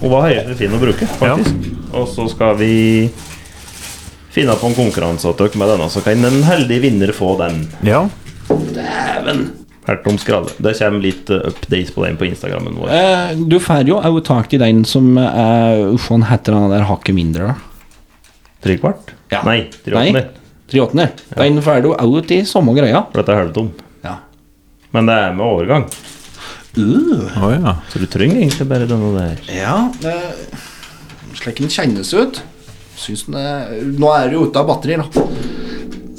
Speaker 2: Hun var høyere fin å bruke, faktisk. Og så skal vi finne på en konkurranse til dere med denne, så kan en heldig vinner få den.
Speaker 5: Ja.
Speaker 2: Hertom Skralle. Det kommer litt eh, updates på den på Instagrammen vår.
Speaker 3: Eh, Du får jo òg tak i den som er Uff, han heter den der hakket mindre, da.
Speaker 2: Tre kvart?
Speaker 3: Ja.
Speaker 2: Nei, tre
Speaker 3: Nei.
Speaker 2: åttende.
Speaker 3: Triåttende. Den får du òg til samme greia.
Speaker 2: For dette er halvtom.
Speaker 3: Ja.
Speaker 2: Men det er med overgang,
Speaker 3: Uh,
Speaker 5: Å ja.
Speaker 2: så du trenger egentlig bare denne der.
Speaker 3: ja. det- Slik den kjennes ut. Syns den er Nå er du ute av batteri, da.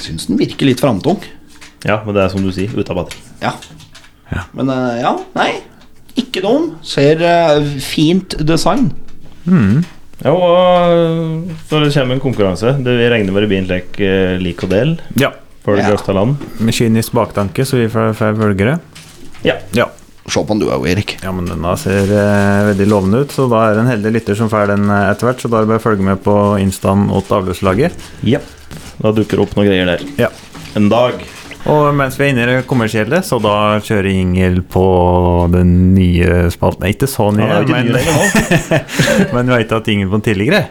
Speaker 3: Syns den virker litt framtung.
Speaker 2: Ja, men det er som du sier, ute av batteri.
Speaker 3: Ja. Men eh, ja, nei. Ikke dum. Ser eh, fint design.
Speaker 2: Ja, og øh, når det kommer en konkurranse det Vi regner med det blir en slik eh, lik og del
Speaker 5: ja.
Speaker 2: før det
Speaker 3: Ja.
Speaker 2: grøfta land.
Speaker 5: Med kynisk baktanke, så vi får får følgere.
Speaker 2: Ja.
Speaker 5: Ja.
Speaker 3: Se på den du òg, Erik.
Speaker 5: Ja, men denne ser eh, veldig lovende ut, så da er det en heldig lytter som får den eh, etter hvert. Så da er det bare å følge med på instaen åt avløpslaget.
Speaker 2: ja. Da dukker det opp noen greier der.
Speaker 5: Ja.
Speaker 2: En dag.
Speaker 5: Og mens vi er inne i det kommersielle, så da kjører Ingel på den nye spalten. Nei, Ikke så
Speaker 2: Ja,
Speaker 5: nye,
Speaker 2: det er jo ikke
Speaker 5: men,
Speaker 2: nye lenger nå.
Speaker 5: men du veit at Ingel på den tidligere.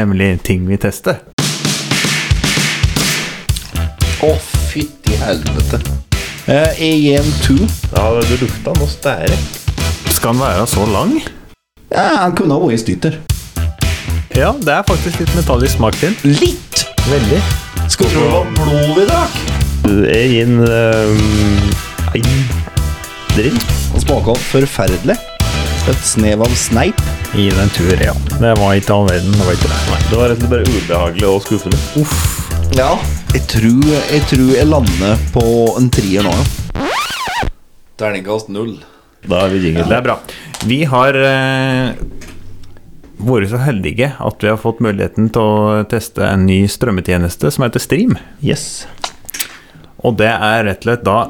Speaker 5: Nemlig ting vi tester.
Speaker 3: Å, fytti helvete. Eh, jeg gir en to.
Speaker 2: Ja, du lukta noe stære.
Speaker 5: Skal den være så lang?
Speaker 3: Ja, han kunne ha vært stytter.
Speaker 5: Ja, det er faktisk litt metall i smak til.
Speaker 3: Litt!
Speaker 5: Veldig.
Speaker 3: Skal tro det var blod vi drakk.
Speaker 2: Jeg gir en øh, en drill.
Speaker 3: Han smaka forferdelig. Et snev av sneip.
Speaker 5: Gi den en tur, ja. Det var ikke all verden. Det var ikke det.
Speaker 2: Nei, det var rett og slett bare ubehagelig og skuffende.
Speaker 3: Ja. Jeg tror jeg, tror jeg lander på en trier nå, ja. Terningkast null.
Speaker 2: Da er vi jingle.
Speaker 5: Det er bra. Vi har eh, vært så heldige at vi har fått muligheten til å teste en ny strømmetjeneste som heter Stream.
Speaker 2: Yes.
Speaker 5: Og det er rett og slett da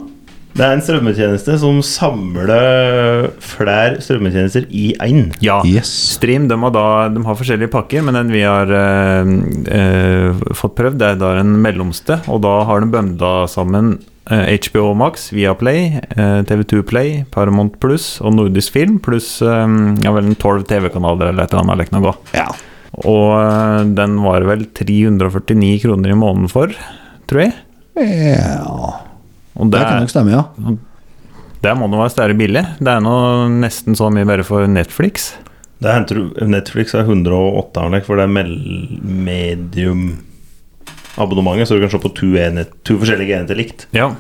Speaker 2: Det er en strømmetjeneste som samler flere strømmetjenester i én.
Speaker 5: Ja.
Speaker 3: Yes.
Speaker 5: Stream de har, da, de har forskjellige pakker, men den vi har eh, eh, fått prøvd, det er da den mellomste. Og da har de bømda sammen eh, HBO Max, Viaplay, eh, TV2 Play, Paramount Pluss og Nordisk Film pluss eh, ja, vel en 12 TV-kanaler eller et eller annet. Lekna gå.
Speaker 3: Ja.
Speaker 5: Og eh, den var vel 349 kroner i måneden for, tror jeg.
Speaker 3: ja.
Speaker 5: Og
Speaker 3: Det kan nok stemme, ja.
Speaker 5: Det må nå være større billig. Det er nå nesten så mye bare for Netflix.
Speaker 2: Der henter du Netflix er 108 arnek, for det er mel- medium-abonnementet, så du kan se på to, enhet, to forskjellige enheter likt.
Speaker 5: Ja.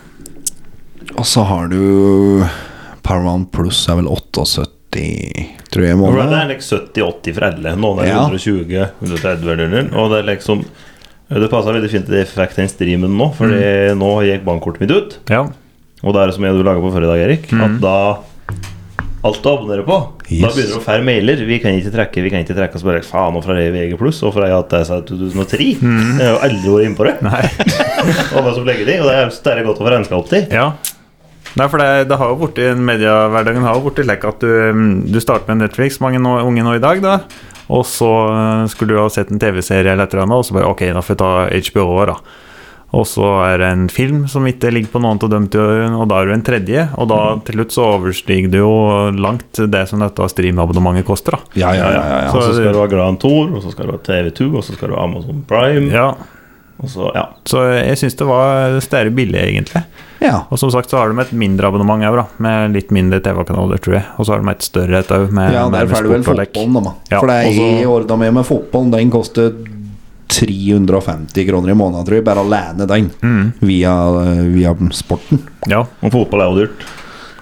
Speaker 3: Og så har du Paramount Plus er vel 78, tror jeg, i
Speaker 2: For det
Speaker 3: måneden.
Speaker 2: er like 70-80 for alle. Noen er
Speaker 3: Ja.
Speaker 2: 120-130 eller noe, og det er liksom Det passa veldig fint at jeg fikk den streamen nå, Fordi nå gikk bankkortet mitt ut.
Speaker 5: ja.
Speaker 2: Og det er det som jeg og du laga på forrige dag, Erik. At da Alt du abonnerer på, da
Speaker 3: Yes.
Speaker 2: begynner du å få mailer. Vi kan ikke trekke, vi kan ikke trekke. Og så bare faen, og fra det VG pluss, og fra jeg har hatt det siden 2003. Jeg har jo aldri vært innpå det. og hva som legger de, og det er det er godt å få renska opp til.
Speaker 5: ja. Nei, for det, det har jo borti mediehverdagen har jo borti lekk at du, mm, du starter med Netflix, mange nå, unge nå i dag, da. Og så eh, skulle du ha sett en TV-serie eller et eller annet, og så bare ok, da får jeg ta HBO-er, da. Og så er det en film som ikke ligger på noen av dem, til, og da er du en tredje. Og da til slutt så overstiger du jo langt det som dette streamabonnementet koster, da.
Speaker 3: Ja, ja, ja. ja, ja.
Speaker 2: Og så skal du ha Grand Tour, og så skal du ha TV2, og så skal du ha Amazon Prime.
Speaker 5: Ja,
Speaker 2: Og så, ja.
Speaker 5: så jeg syns det var stære billig, egentlig.
Speaker 3: ja.
Speaker 5: Og som sagt så har de et mindre abonnement òg, da. Med litt mindre TV-kanaler, tror jeg. Og så har de et større et òg.
Speaker 3: Ja, der får du vel fotballen, da. man.
Speaker 5: Ja,
Speaker 3: For det
Speaker 5: og
Speaker 3: er
Speaker 5: så-
Speaker 3: i ordna med med fotballen. Den koster 350 kroner i måneden, tror jeg. Bare alene den. Via, via sporten.
Speaker 5: Mm, Ja.
Speaker 2: Og fotball er jo dyrt.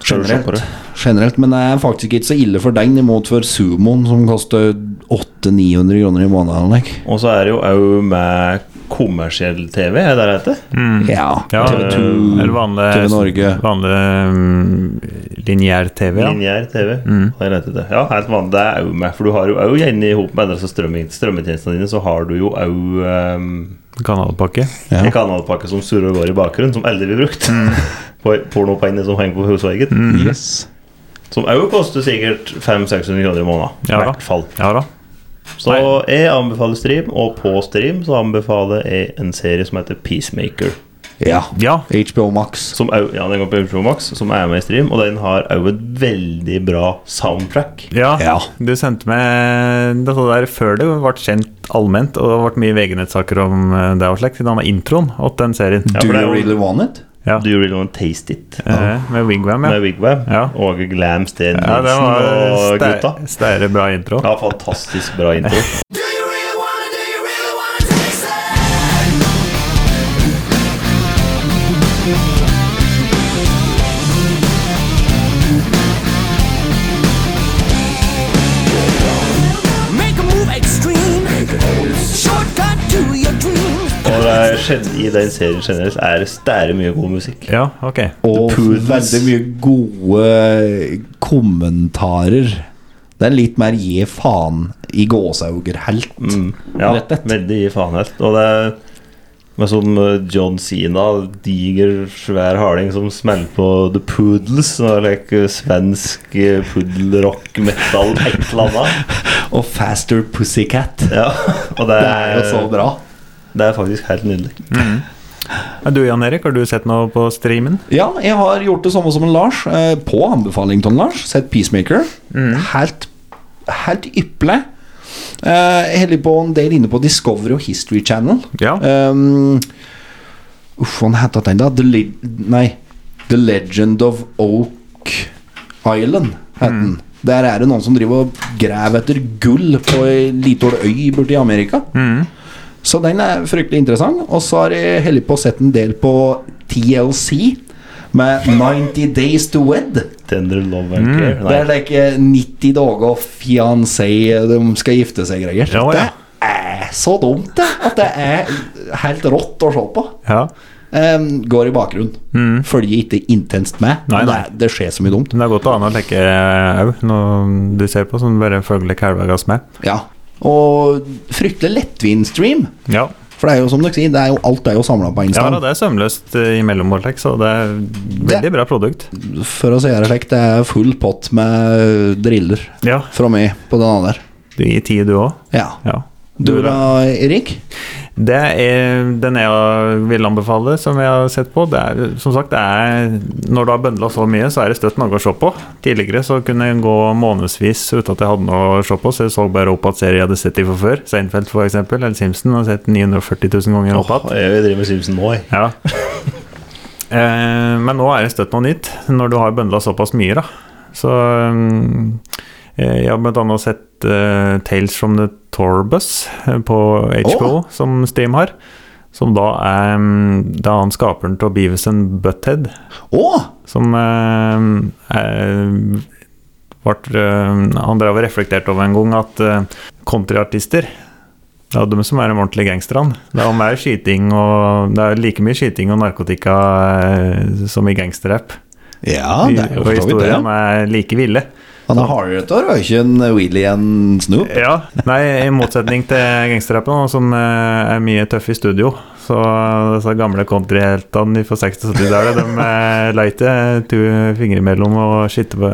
Speaker 2: Skal du se på
Speaker 3: Generelt.
Speaker 2: det?
Speaker 3: Generelt. Men det er faktisk ikke så ille for den, imot for sumoen, som koster 800-900 kroner i måneden. Like.
Speaker 2: Og så er det jo òg med kommersiell TV, er det det heter?
Speaker 3: Ja.
Speaker 5: mm. ja eh,
Speaker 3: TV2,
Speaker 5: eller vanlig,
Speaker 3: TV Norge.
Speaker 5: vanlig mm, lineær TV. Ja. Mm.
Speaker 2: Lineær TV. Har jeg rett i det? Ja, helt vanlig. Det er jo med. For du har jo òg gjerne i hop med disse strømming- strømmetjenestene dine, så har du jo òg um,
Speaker 5: Kanalpakke.
Speaker 3: Ja.
Speaker 2: en kanalpakke som surrer og går i bakgrunnen, som aldri blir brukt.
Speaker 5: Mm.
Speaker 2: På Pornopengene som henger på husveggen.
Speaker 3: Yes.
Speaker 2: Som òg koster sikkert 500-600 kroner i måneden. I
Speaker 5: Ja da.
Speaker 2: hvert fall.
Speaker 5: Ja da.
Speaker 2: Så jeg anbefaler stream, og på stream så anbefaler jeg en serie som heter Peacemaker.
Speaker 3: Ja.
Speaker 5: Ja.
Speaker 3: HBO Max.
Speaker 2: Som, er, ja, den går på HBO Max, som er med i stream, og den har òg et veldig bra soundtrack.
Speaker 5: Ja,
Speaker 3: Ja.
Speaker 5: du sendte meg dette der før det ble kjent allment, og det ble mye VG-nettsaker om eh, det og slikt, i denne introen åt den serien.
Speaker 2: Ja,
Speaker 3: Do
Speaker 2: for det er
Speaker 3: you
Speaker 2: jo-
Speaker 3: really want it?
Speaker 5: Ja.
Speaker 2: Do you really want to taste it?
Speaker 5: Eh, Med Wigwam,
Speaker 2: Med
Speaker 5: ja.
Speaker 2: Wigwam
Speaker 5: Ja.
Speaker 2: og Glam Sten
Speaker 5: ja det
Speaker 2: Nilsen
Speaker 5: var
Speaker 2: og
Speaker 5: stæ-
Speaker 2: gutta.
Speaker 5: stære bra intro.
Speaker 2: Ja, fantastisk bra intro.
Speaker 8: Make a move extreme. Shortcut to your dream.
Speaker 2: Og det er, gen- I den serien generelt er det stære mye god musikk.
Speaker 5: Ja, ok.
Speaker 3: Og
Speaker 2: Poodles.
Speaker 3: veldig mye gode eh, kommentarer. Det er litt mer gi faen i gåsauger-helt.
Speaker 2: Ja,
Speaker 3: Rett og slett.
Speaker 2: veldig gi faen helt. Og det er med sånn eh, John Sina, diger, svær harding som smeller på The Poodles. Som er like eh, svensk eh, puddelrock metal, et eller annet.
Speaker 3: Og Faster Pussycat.
Speaker 2: Ja, og det
Speaker 3: Det er jo så
Speaker 2: er,
Speaker 3: bra.
Speaker 2: det er faktisk helt nydelig.
Speaker 5: Ja, Du Jan Erik, har du sett noe på streamen?
Speaker 3: Ja, jeg har gjort det samme som en Lars. eh, På anbefaling til en Lars. Sett Peacemaker. Helt, helt ypperlig. Eh, Jeg holder på en del inne på Discovery og History Channel.
Speaker 5: Ja.
Speaker 3: Um, uff, hva heter den da? The, Le nei, The Legend of Oak Island heter den. Der er det noen som driver og graver etter gull på ei lita øy borte i Amerika. Så den er fryktelig interessant. Og så har jeg heller på sett en del på TLC med 90 Days to Wed.
Speaker 2: Tender love and
Speaker 5: Mm.
Speaker 2: care.
Speaker 3: Det er like 90 dager og fiancé de skal gifte seg greier.
Speaker 5: Ja, ja.
Speaker 3: Det er så dumt, det. At det er helt rått å se på.
Speaker 5: Ja.
Speaker 3: Em, går i bakgrunnen. Følger ikke intenst med.
Speaker 5: Mm. Nei,
Speaker 3: men
Speaker 5: nei.
Speaker 3: Det, det skjer så mye dumt.
Speaker 5: Men det er godt å ane å leke au når du ser på, som bare følger kalvegass med.
Speaker 3: Ja. Og fryktelig lettvint stream.
Speaker 5: Ja.
Speaker 3: For det er jo som dere sier, det er jo, alt er jo samla på én
Speaker 5: Ja, da,
Speaker 3: stand.
Speaker 5: det er sømløst eh, i mellommåltrekk, så det er veldig
Speaker 3: Det-
Speaker 5: bra produkt.
Speaker 3: For å si det slik, det er full pott med ø, driller
Speaker 5: Ja,
Speaker 3: fra meg på den andre.
Speaker 5: du gir tid, du òg.
Speaker 3: Ja.
Speaker 5: Ja.
Speaker 3: Du da, Erik?
Speaker 5: Det er den jeg vil anbefale, som jeg har sett på. Det er, som sagt, det er, når du har bøndla så mye, så er det støtt noe å se på. Tidligere så kunne en gå månedsvis uten at jeg hadde noe å se på, så jeg så bare opp at serier jeg hadde sett de for før. Seinfeld for eksempel, eller Simpson, har jeg sett 940 000 ganger opp igjen.
Speaker 2: Jeg driver med Simpson nå, jeg.
Speaker 5: Ja. Eh, men nå er det støtt noe nytt, når du har bøndla såpass mye, da. Så mm, eh, jeg har blant annet sett eh, Tales from the Torbus eh, på HBO, som Steam har. Som da er mm, Da er han skaperen til Beavis and Butthead,
Speaker 3: Å!
Speaker 5: som eh, er, vart, eh, Han drev og reflekterte over en gang at eh, countryartister det er de som er de ordentlige gangsterne. Det er mer skyting og Det er like mye skyting og narkotika eh, som i gangsterrapp.
Speaker 3: Ja, det er
Speaker 5: og
Speaker 3: jo for så vidt det.
Speaker 5: historiene er like ville.
Speaker 3: Han er hardere, var jo ikke en wheelie enn Snoop.
Speaker 5: Ja, Nei, i motsetning til gangsterrappen, da, som eh, er mye tøffe i studio. Så disse gamle countryheltene fra 60- og 70-tallet, de eh, la ikke to fingre imellom og skytte på,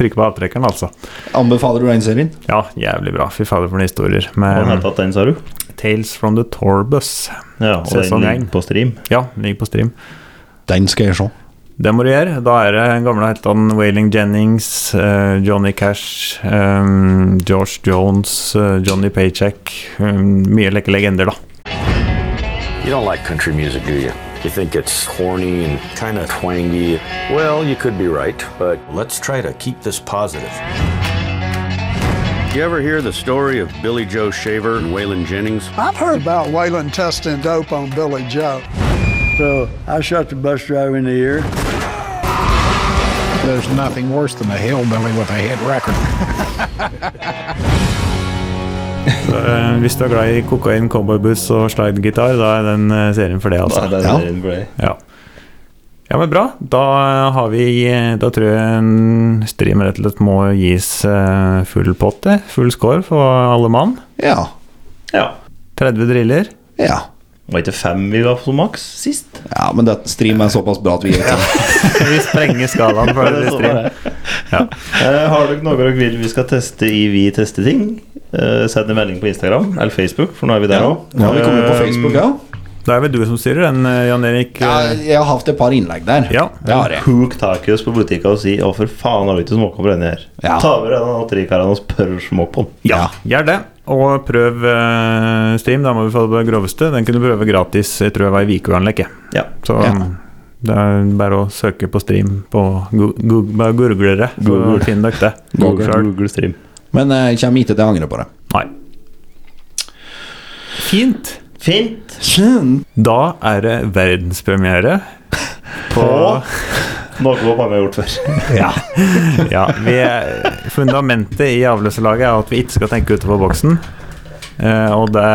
Speaker 5: trykke på avtrekkeren, altså.
Speaker 3: Anbefaler du den serien?
Speaker 5: Ja, jævlig bra. Fy fader, for noen historier.
Speaker 2: Hva
Speaker 5: Med
Speaker 2: het den, sa du?
Speaker 5: Tales from the Torbus.
Speaker 2: Ja, og
Speaker 5: Sesong
Speaker 2: den ligger
Speaker 5: én.
Speaker 2: på stream.
Speaker 5: Ja, ligger på stream.
Speaker 3: Den skal jeg se.
Speaker 5: Det må du gjøre. Da er det gamle heltene Wailing Jennings, eh, Johnny Cash, eh, George Jones, eh, Johnny Paycheck. eh, mye lekke legender, da.
Speaker 9: You don't like country music, do you? You think it's horny and kind of twangy. Well, you could be right, but let's try to keep this positive. You ever hear the story of Billy Joe Shaver and Waylon Jennings?
Speaker 10: I've heard about Waylon testing dope on Billy Joe. So I shot the bus driver in the ear. There's nothing worse than a hillbilly with a hit record.
Speaker 5: Eh, hvis du er glad i kokain, cowboyboots og slidegitar, da er den eh, serien for det,
Speaker 2: Da er
Speaker 5: altså.
Speaker 2: den
Speaker 3: Ja.
Speaker 2: serien for deg.
Speaker 5: Ja. ja, men bra. Da har vi eh, Da tror jeg en stream rett og slett må gis eh, full pott, eh, full score for alle mann.
Speaker 3: Ja.
Speaker 2: Ja.
Speaker 5: 30 driller.
Speaker 3: Ja.
Speaker 2: Var ikke fem vi ga på maks sist?
Speaker 3: ja, men dette stream er såpass bra at vi ikke
Speaker 5: Vi sprenger skalaen for
Speaker 2: Det
Speaker 5: en
Speaker 2: står
Speaker 5: stream.
Speaker 2: bare. Eh, har dere noe dere vil vi skal teste i Vi tester ting? Eh, send en melding på Instagram eller Facebook, for nå er vi der Eh,
Speaker 3: Ja,
Speaker 2: òg.
Speaker 3: nå har vi kommet på Facebook òg.
Speaker 5: Da er vel du som styrer den, eh, Jan Erik.
Speaker 3: Ja,
Speaker 5: eh,
Speaker 3: jeg har hatt et par innlegg der.
Speaker 5: Ja.
Speaker 3: Det har jeg.
Speaker 2: Hook tak i oss på butikka og si 'Å, for faen, har vi ikke småkål på denne her?'
Speaker 3: Ja.
Speaker 2: Ta over en av trikaren og spør småk på den.
Speaker 3: Ja.
Speaker 5: Gjør det. Og prøv eh, stream. Da må vi få det groveste. Den kunne du prøve gratis. Jeg tror jeg var i Vikevanlek. jeg.
Speaker 2: Ja.
Speaker 5: Så
Speaker 3: Ja.
Speaker 5: det er bare å søke på stream på Gu- Gu- bare Google det, så
Speaker 2: Google.
Speaker 5: finner dere det.
Speaker 2: Google,
Speaker 5: Selv.
Speaker 2: Google Stream.
Speaker 3: Men eh, jeg kommer ikke til å angre på det.
Speaker 5: Nei. Fint.
Speaker 2: Fint.
Speaker 5: Da er det verdenspremiere på
Speaker 2: Noe vi mange har gjort før.
Speaker 5: ja. ja vi er, fundamentet i avløserlaget er at vi ikke skal tenke utenfor boksen. Eh, og det,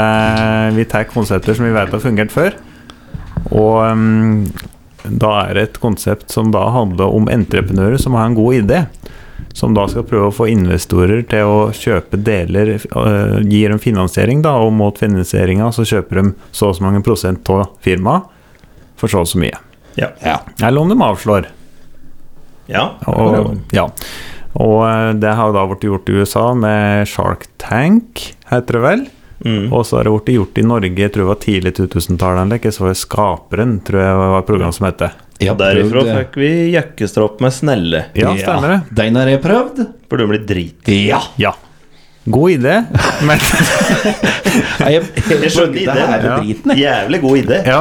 Speaker 5: vi tar konsepter som vi vet har fungert før. Og mm, da er det et konsept som da handler om entreprenører som har en god idé. Som da skal prøve å få investorer til å kjøpe deler, eh, gir dem finansiering, da, og mot finansieringa så kjøper de så og så mange prosent av firmaet for så og så mye.
Speaker 2: Ja.
Speaker 3: Ja.
Speaker 5: Eller om de avslår.
Speaker 2: ja.
Speaker 5: Og, ja. og eh, det har jo da blitt gjort i USA med Shark Tank, heter det vel.
Speaker 2: Mm.
Speaker 5: Og så har det blitt gjort i Norge, jeg tror det var tidlig 2000-tallet. eller ikke, Så var det Skaperen, tror jeg var et program som het.
Speaker 3: Jeg har
Speaker 2: Derifra
Speaker 3: prøvd, eh,
Speaker 2: fikk vi jakkestrapp med snelle.
Speaker 5: Ja, stemmer det.
Speaker 3: Den har jeg prøvd.
Speaker 2: Burde bli drit.
Speaker 3: Ja.
Speaker 5: Ja. God idé, men
Speaker 3: Nei, Jeg, jeg,
Speaker 2: Jeg skjønner
Speaker 3: prøvde
Speaker 2: ideen,
Speaker 3: hele
Speaker 5: ja.
Speaker 3: driten, jeg.
Speaker 2: Jævlig god idé.
Speaker 5: Ja.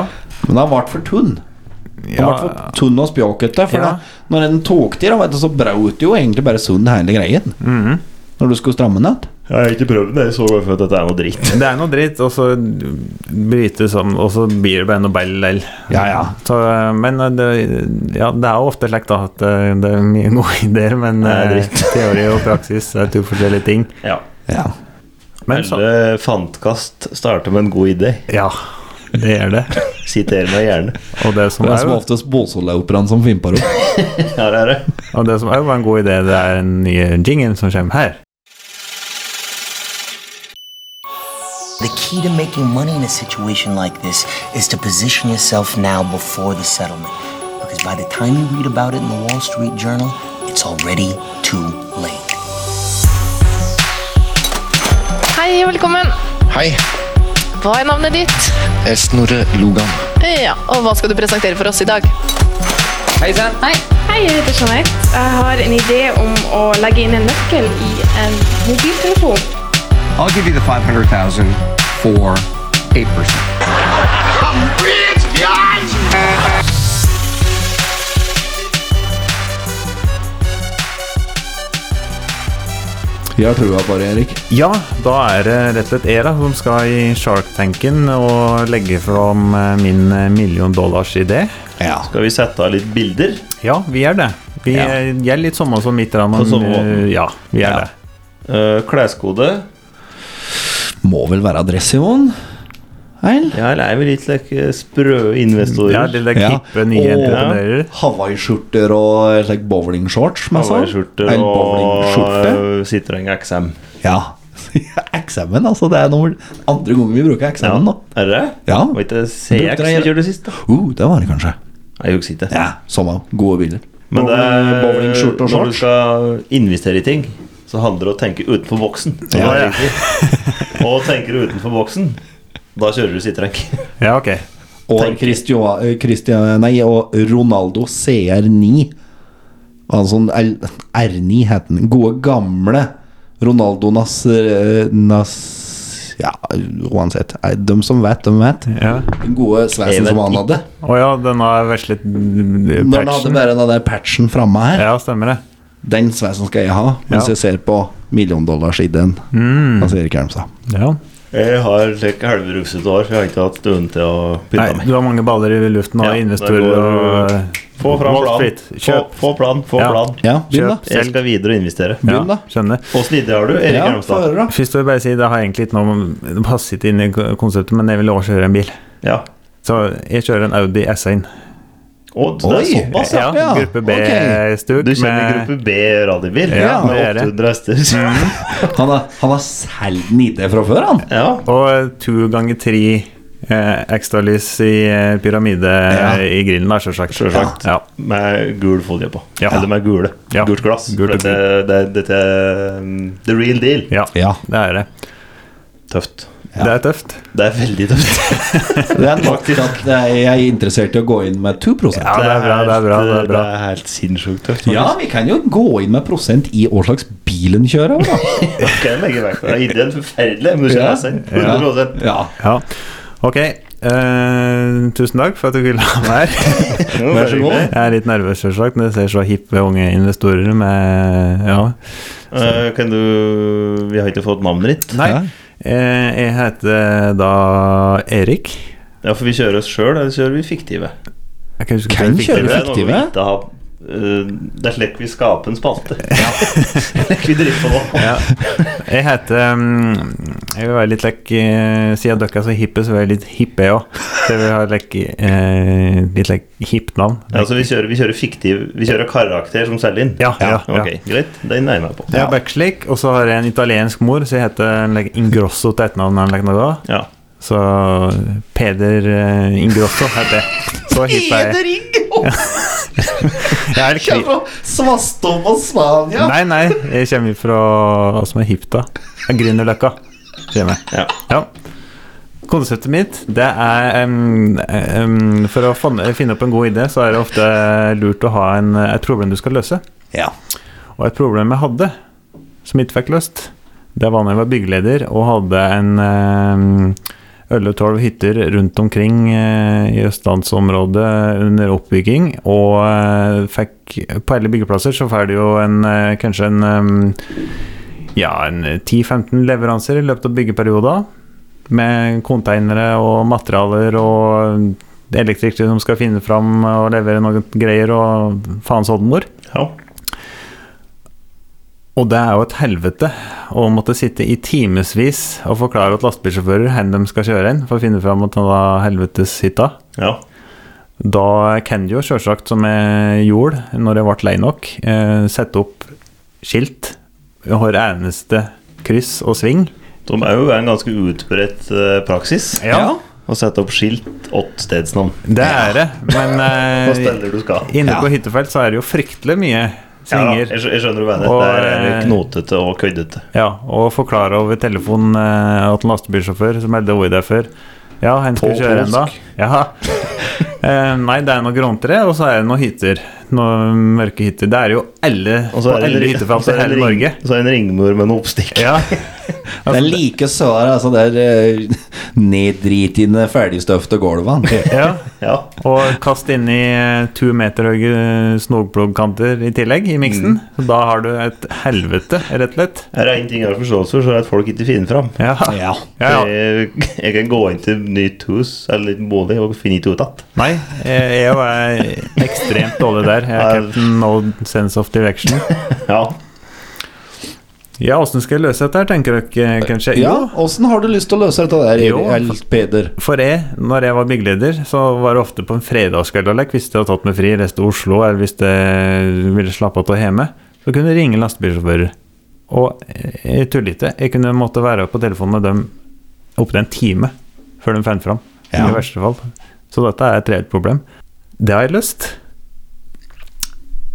Speaker 3: Men den ble for tunn. Den
Speaker 5: ja.
Speaker 3: ble for tunn og spjåkete. For
Speaker 5: Ja.
Speaker 3: da, når den tok til, da, vet du, så brøt jo egentlig bare sund hele greien. Når du skulle stramme den igjen.
Speaker 2: Jeg har ikke prøvd den, jeg så godt for at dette er noe dritt.
Speaker 5: Det er noe dritt, og så brytes om, og så blir det bare noe bell lell.
Speaker 3: Ja, ja.
Speaker 5: Så, eh, men eh, det, ja, det er jo ofte slik da, at eh, det er mye gode ideer, men
Speaker 2: Nei,
Speaker 5: eh,
Speaker 2: dritt.
Speaker 5: teori og praksis er to forskjellige ting.
Speaker 2: Ja.
Speaker 3: Ja.
Speaker 5: Men så,
Speaker 2: Eller Fantkast starter med en god idé.
Speaker 5: Ja, det gjør det.
Speaker 2: Siter meg gjerne.
Speaker 5: Og det som
Speaker 3: Det er
Speaker 5: er,
Speaker 3: som
Speaker 5: jo-
Speaker 3: oftest Båsoloperaen som fimper opp.
Speaker 2: Ja, det er det.
Speaker 5: og det som er jo en god idé, det er en ny jingle som kommer her.
Speaker 11: The key to making money in a situation like this is to position yourself now before the settlement. Because by the time you read about it in the Wall Street Journal, it's already too late.
Speaker 12: Hei, velkommen.
Speaker 13: Hei,
Speaker 12: Hva er navnet ditt?
Speaker 13: jeg er Snorre Logan.
Speaker 12: Ja, og hva skal du presentere for oss i dag?
Speaker 13: Hei sann.
Speaker 12: Hei. Hei, jeg heter Jeanette. Jeg har en idé om å legge inn en nøkkel i en mobiltelefon.
Speaker 14: I'll give you the 500,000 for 8%.
Speaker 3: Jeg har trua på det, Erik.
Speaker 5: Ja, da er det rett og slett Era som skal i Shark-tanken og legge fram eh, min eh, million dollars-idé.
Speaker 2: Skal vi sette av litt bilder?
Speaker 5: Ja, vi er det. Vi
Speaker 2: Ja.
Speaker 5: er, jeg er litt sånn som mitt ramen.
Speaker 2: På samme måten.
Speaker 5: eh, Ja, vi er
Speaker 2: Ja.
Speaker 5: det.
Speaker 2: Eh, kleskode.
Speaker 3: Må vel være adressemål?
Speaker 2: Ja, eller er vi litt like, sprø investorer?
Speaker 3: Og hawaiiskjorter og eh, like bowlingshorts. som jeg sa.
Speaker 2: Hawaiiskjorter
Speaker 3: Eller
Speaker 2: og
Speaker 3: bowlingskjorte.
Speaker 2: eh, Citroën XM.
Speaker 3: Ja. XM-en, altså. Det er nummer andre gangen vi bruker XM-en nå.
Speaker 2: Er det?
Speaker 3: Ja.
Speaker 2: Var ikke CX vi kjørte sist, da?
Speaker 3: Uh, det var det kanskje.
Speaker 2: Jeg husker ikke.
Speaker 3: Ja, Samme. Gode biler.
Speaker 2: Men det er,
Speaker 3: Bowlingskjorte og
Speaker 2: når du
Speaker 3: shorts.
Speaker 2: skal investere i ting, så handler det om å tenke utenfor boksen. Så
Speaker 3: Ja,
Speaker 2: da er
Speaker 3: ja.
Speaker 2: det riktig. Og tenker du utenfor boksen, da kjører du sitrekk.
Speaker 5: Ja, ok.
Speaker 3: Og Christia- eh, Christia- nei, og Ronaldo CR9. Altså en L- R9 het den. Gode, gamle Ronaldo Nas, eh, Nas Ja, uansett. Nei, De som vet, de vet. Den gode sveisen som han hadde.
Speaker 5: Å ja, den har veslet patchen.
Speaker 3: Når han hadde bare den der patchen framme her.
Speaker 5: Ja, stemmer det.
Speaker 3: Den sveisen skal jeg ha, mens
Speaker 5: Ja.
Speaker 3: jeg ser på milliondollars-ID-en.
Speaker 5: Mm.
Speaker 3: Altså Erik Hjelmstad.
Speaker 2: Jeg har like halve rufsete hår, for jeg har ikke hatt evnen til å
Speaker 5: Nei,
Speaker 2: pynte meg.
Speaker 5: du har mange baller i luften og
Speaker 2: Ja,
Speaker 5: investorer
Speaker 2: det går-
Speaker 5: og eh,
Speaker 2: Få fram
Speaker 5: Wall
Speaker 2: plan.
Speaker 5: Street.
Speaker 2: Få,
Speaker 5: Kjøp.
Speaker 2: få plan, få
Speaker 5: Ja.
Speaker 2: plan.
Speaker 5: Ja, begynn da.
Speaker 2: Kjøp, jeg skal videre og investere.
Speaker 5: Begynn da. Skjønner.
Speaker 2: Åssen idé har du, Erik Hjelmstad?
Speaker 5: Først vil jeg bare si det har egentlig ikke noe det passer ikke inn i konseptet, men jeg vil også kjøre en bil. Så jeg kjører en Audi S1.
Speaker 2: Å, det er Oi! såpass, ja. Ja,
Speaker 5: Gruppe
Speaker 2: ok.
Speaker 5: B-stuk.
Speaker 2: Du kjenner gruppe B radiobil
Speaker 5: Ja,
Speaker 2: med
Speaker 5: det Mm. er det.
Speaker 2: 800 hester.
Speaker 3: Han har, han har solgt den ID fra før, han.
Speaker 5: Og to ganger tre eh, ekstralys i eh, pyramide eh, i grillen, da, sjølsagt. Ja.
Speaker 2: Med gul folie på.
Speaker 5: Ja.
Speaker 2: Eller med gule.
Speaker 5: Ja.
Speaker 2: Gult glass.
Speaker 5: Gult og
Speaker 2: Dette det, dette er um, the real deal.
Speaker 5: Ja, det er det.
Speaker 2: Tøft.
Speaker 5: Det er tøft.
Speaker 2: Det er veldig tøft.
Speaker 3: Det er nok til at eh, jeg er interessert i å gå inn med 2
Speaker 5: Ja, det er bra, det er bra, det er bra.
Speaker 2: Det er helt sinnssykt tøft.
Speaker 3: Ja, vi kan jo gå inn med prosent i hva slags bil en kjører. da.
Speaker 2: Okay, legge vekk. det. Ideen er forferdelig, men du
Speaker 3: Ja.
Speaker 2: kjenner seg.
Speaker 3: Ja.
Speaker 2: 100%.
Speaker 5: Ja. Ok. eh, tusen takk for at du ville ha meg her.
Speaker 2: Jo, vær så god.
Speaker 5: Jeg er litt nervøs, selvsagt, når jeg ser så hippe unge investorer med Ja.
Speaker 2: Eh, kan du Vi har ikke fått navnet ditt.
Speaker 5: Nei. Eh, jeg heter eh, da Erik.
Speaker 2: Ja, for vi kjører oss sjøl, eller kjører vi fiktive?
Speaker 5: Jeg kan huske at jeg fikk det.
Speaker 2: Det er noe vi ikke har- eh, det er slik vi skaper en spalte. Slik vi driver på nå.
Speaker 5: Ja. Jeg heter um, Jeg vil være litt lekk eh, Siden dere er så hippe, så vil jeg litt hippe jeg òg. Så jeg vil ha lekk, eh, litt lekk hipt navn.
Speaker 2: Ja, altså vi kjører, vi kjører fiktiv Vi kjører karakter som selger inn?
Speaker 5: Ja, ja, ja.
Speaker 2: Ok, Greit, den nærmer jeg meg på.
Speaker 5: Jeg er backslick, og så har jeg en italiensk mor, så jeg heter like, Ingrosso til etternavn. eller like, noe da. Så Peder eh, Ingrosso heter jeg. Så hipp er jeg. Jeg er kri
Speaker 3: Svastom og Spania!
Speaker 5: Nei, nei, jeg kommer fra hva som er hipt, da. Grünerløkka. Kommer jeg. Ja. Konseptet mitt, det er em, em, For å fan- finne opp en god idé, så er det ofte lurt å ha en, et problem du skal løse. Og et problem jeg hadde, som ikke fikk løst, det var når jeg var byggeleder og hadde en em, 11-12 hytter rundt omkring eh, i østlandsområdet under oppbygging. Og eh, fikk På alle byggeplasser så får du jo en eh, kanskje en em, ja, en 10-15 leveranser i løpet av byggeperioden. Med containere og materialer og elektrikere som skal finne fram og levere noen greier, og faens oldemor. Og det er jo et helvete å måtte sitte i timevis og forklare at lastebilsjåfører hvor de skal kjøre inn for å finne fram til denne helveteshytta. Da kan du jo sjølsagt, som jeg gjorde når jeg ble lei nok, eh, sette opp skilt hver eneste kryss og sving
Speaker 2: Som er jo en ganske utbredt eh, praksis.
Speaker 5: Ja.
Speaker 2: Å sette opp skilt åt stedsnavn.
Speaker 5: Det er det, men eh,
Speaker 2: På steder du skal.
Speaker 5: inne på
Speaker 2: Ja.
Speaker 5: hyttefelt så er det jo fryktelig mye
Speaker 2: Ja,
Speaker 5: svinger. eh,
Speaker 2: jeg skj- jeg skjønner hva du mener. Der er det knotete og køddete.
Speaker 5: Ja, og forklare over telefonen eh, at en lastebilsjåfør som meldte over der før Ja, hen skal
Speaker 2: På
Speaker 5: kjøre ennå.
Speaker 2: polsk.
Speaker 5: Ja. Eh, nei, det er noen grantre, og så er det noen hytter. Noen mørke hytter. Det er jo alle
Speaker 2: Og
Speaker 5: på
Speaker 2: så er det en
Speaker 5: alle
Speaker 2: ring-
Speaker 5: hyttefelt
Speaker 2: så er
Speaker 5: i
Speaker 2: det en
Speaker 5: hele
Speaker 2: ring-
Speaker 5: Norge.
Speaker 2: Så er det en ringmur med noe oppstikk.
Speaker 5: Ja.
Speaker 3: Det er like sår, altså. Det er eh, neddritende, ferdigstøfte gulvene.
Speaker 5: Ja. Og kast inn i eh, to meter høye snogploggkanter i tillegg, i miksen.
Speaker 2: Mm.
Speaker 5: Da har du et helvete, rett og slett.
Speaker 2: Er det en ting jeg har forståelse for, så er det at folk ikke finner fram.
Speaker 5: Ja. Ja. Ja, ja.
Speaker 2: Jeg, jeg kan gå inn til nytt hus eller liten bolig og finne ikke ut igjen.
Speaker 5: Nei, jeg jeg er jo eh, ekstremt dårlig der. Jeg er captain no sense of direction.
Speaker 2: Ja.
Speaker 5: Ja, åssen skal jeg løse dette her, tenker dere eh, kanskje?
Speaker 3: Ja,
Speaker 5: Jo,
Speaker 3: åssen har du lyst til å løse dette der,
Speaker 5: Jo.
Speaker 3: Erl Peder?
Speaker 5: For jeg, når jeg var byggeleder, så var det ofte på en fredagskveld eller hvis jeg hadde tatt meg fri, reiste til Oslo, eller hvis jeg ville slappe av til hjemme, så kunne jeg ringe lastebilsjåfører. Og jeg tuller ikke, jeg kunne måtte være på telefonen med dem opptil en time før de fant fram.
Speaker 3: Ja.
Speaker 5: I verste fall. Så dette er et reelt problem. Det har jeg lyst.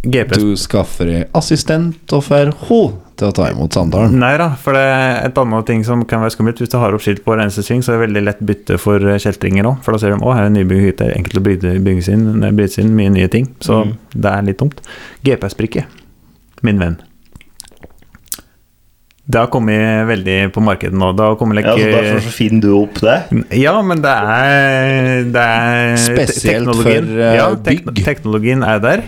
Speaker 5: GPS.
Speaker 3: Du skaffer deg assistent og får henne til å ta imot samtalen.
Speaker 5: Nei da, for det er et annet ting som kan være skummelt. Hvis du har opp skilt på rense sving, så er det veldig lett bytte for eh, kjeltringer òg. For da ser de å, her er en nybygd hytte, det er enkelt å bryte- bygges inn, nei, brytes inn, mye nye ting. Så
Speaker 2: Mm.
Speaker 5: det er litt dumt. GPS-brikke, min venn. Det har kommet veldig på markedet nå. Det har kommet
Speaker 2: Ja, så derfor så finner du opp det.
Speaker 5: ja, men det er, det er te-
Speaker 3: Spesielt
Speaker 5: teknologien.
Speaker 3: for, eh,
Speaker 5: ja, tek Teknologien er der.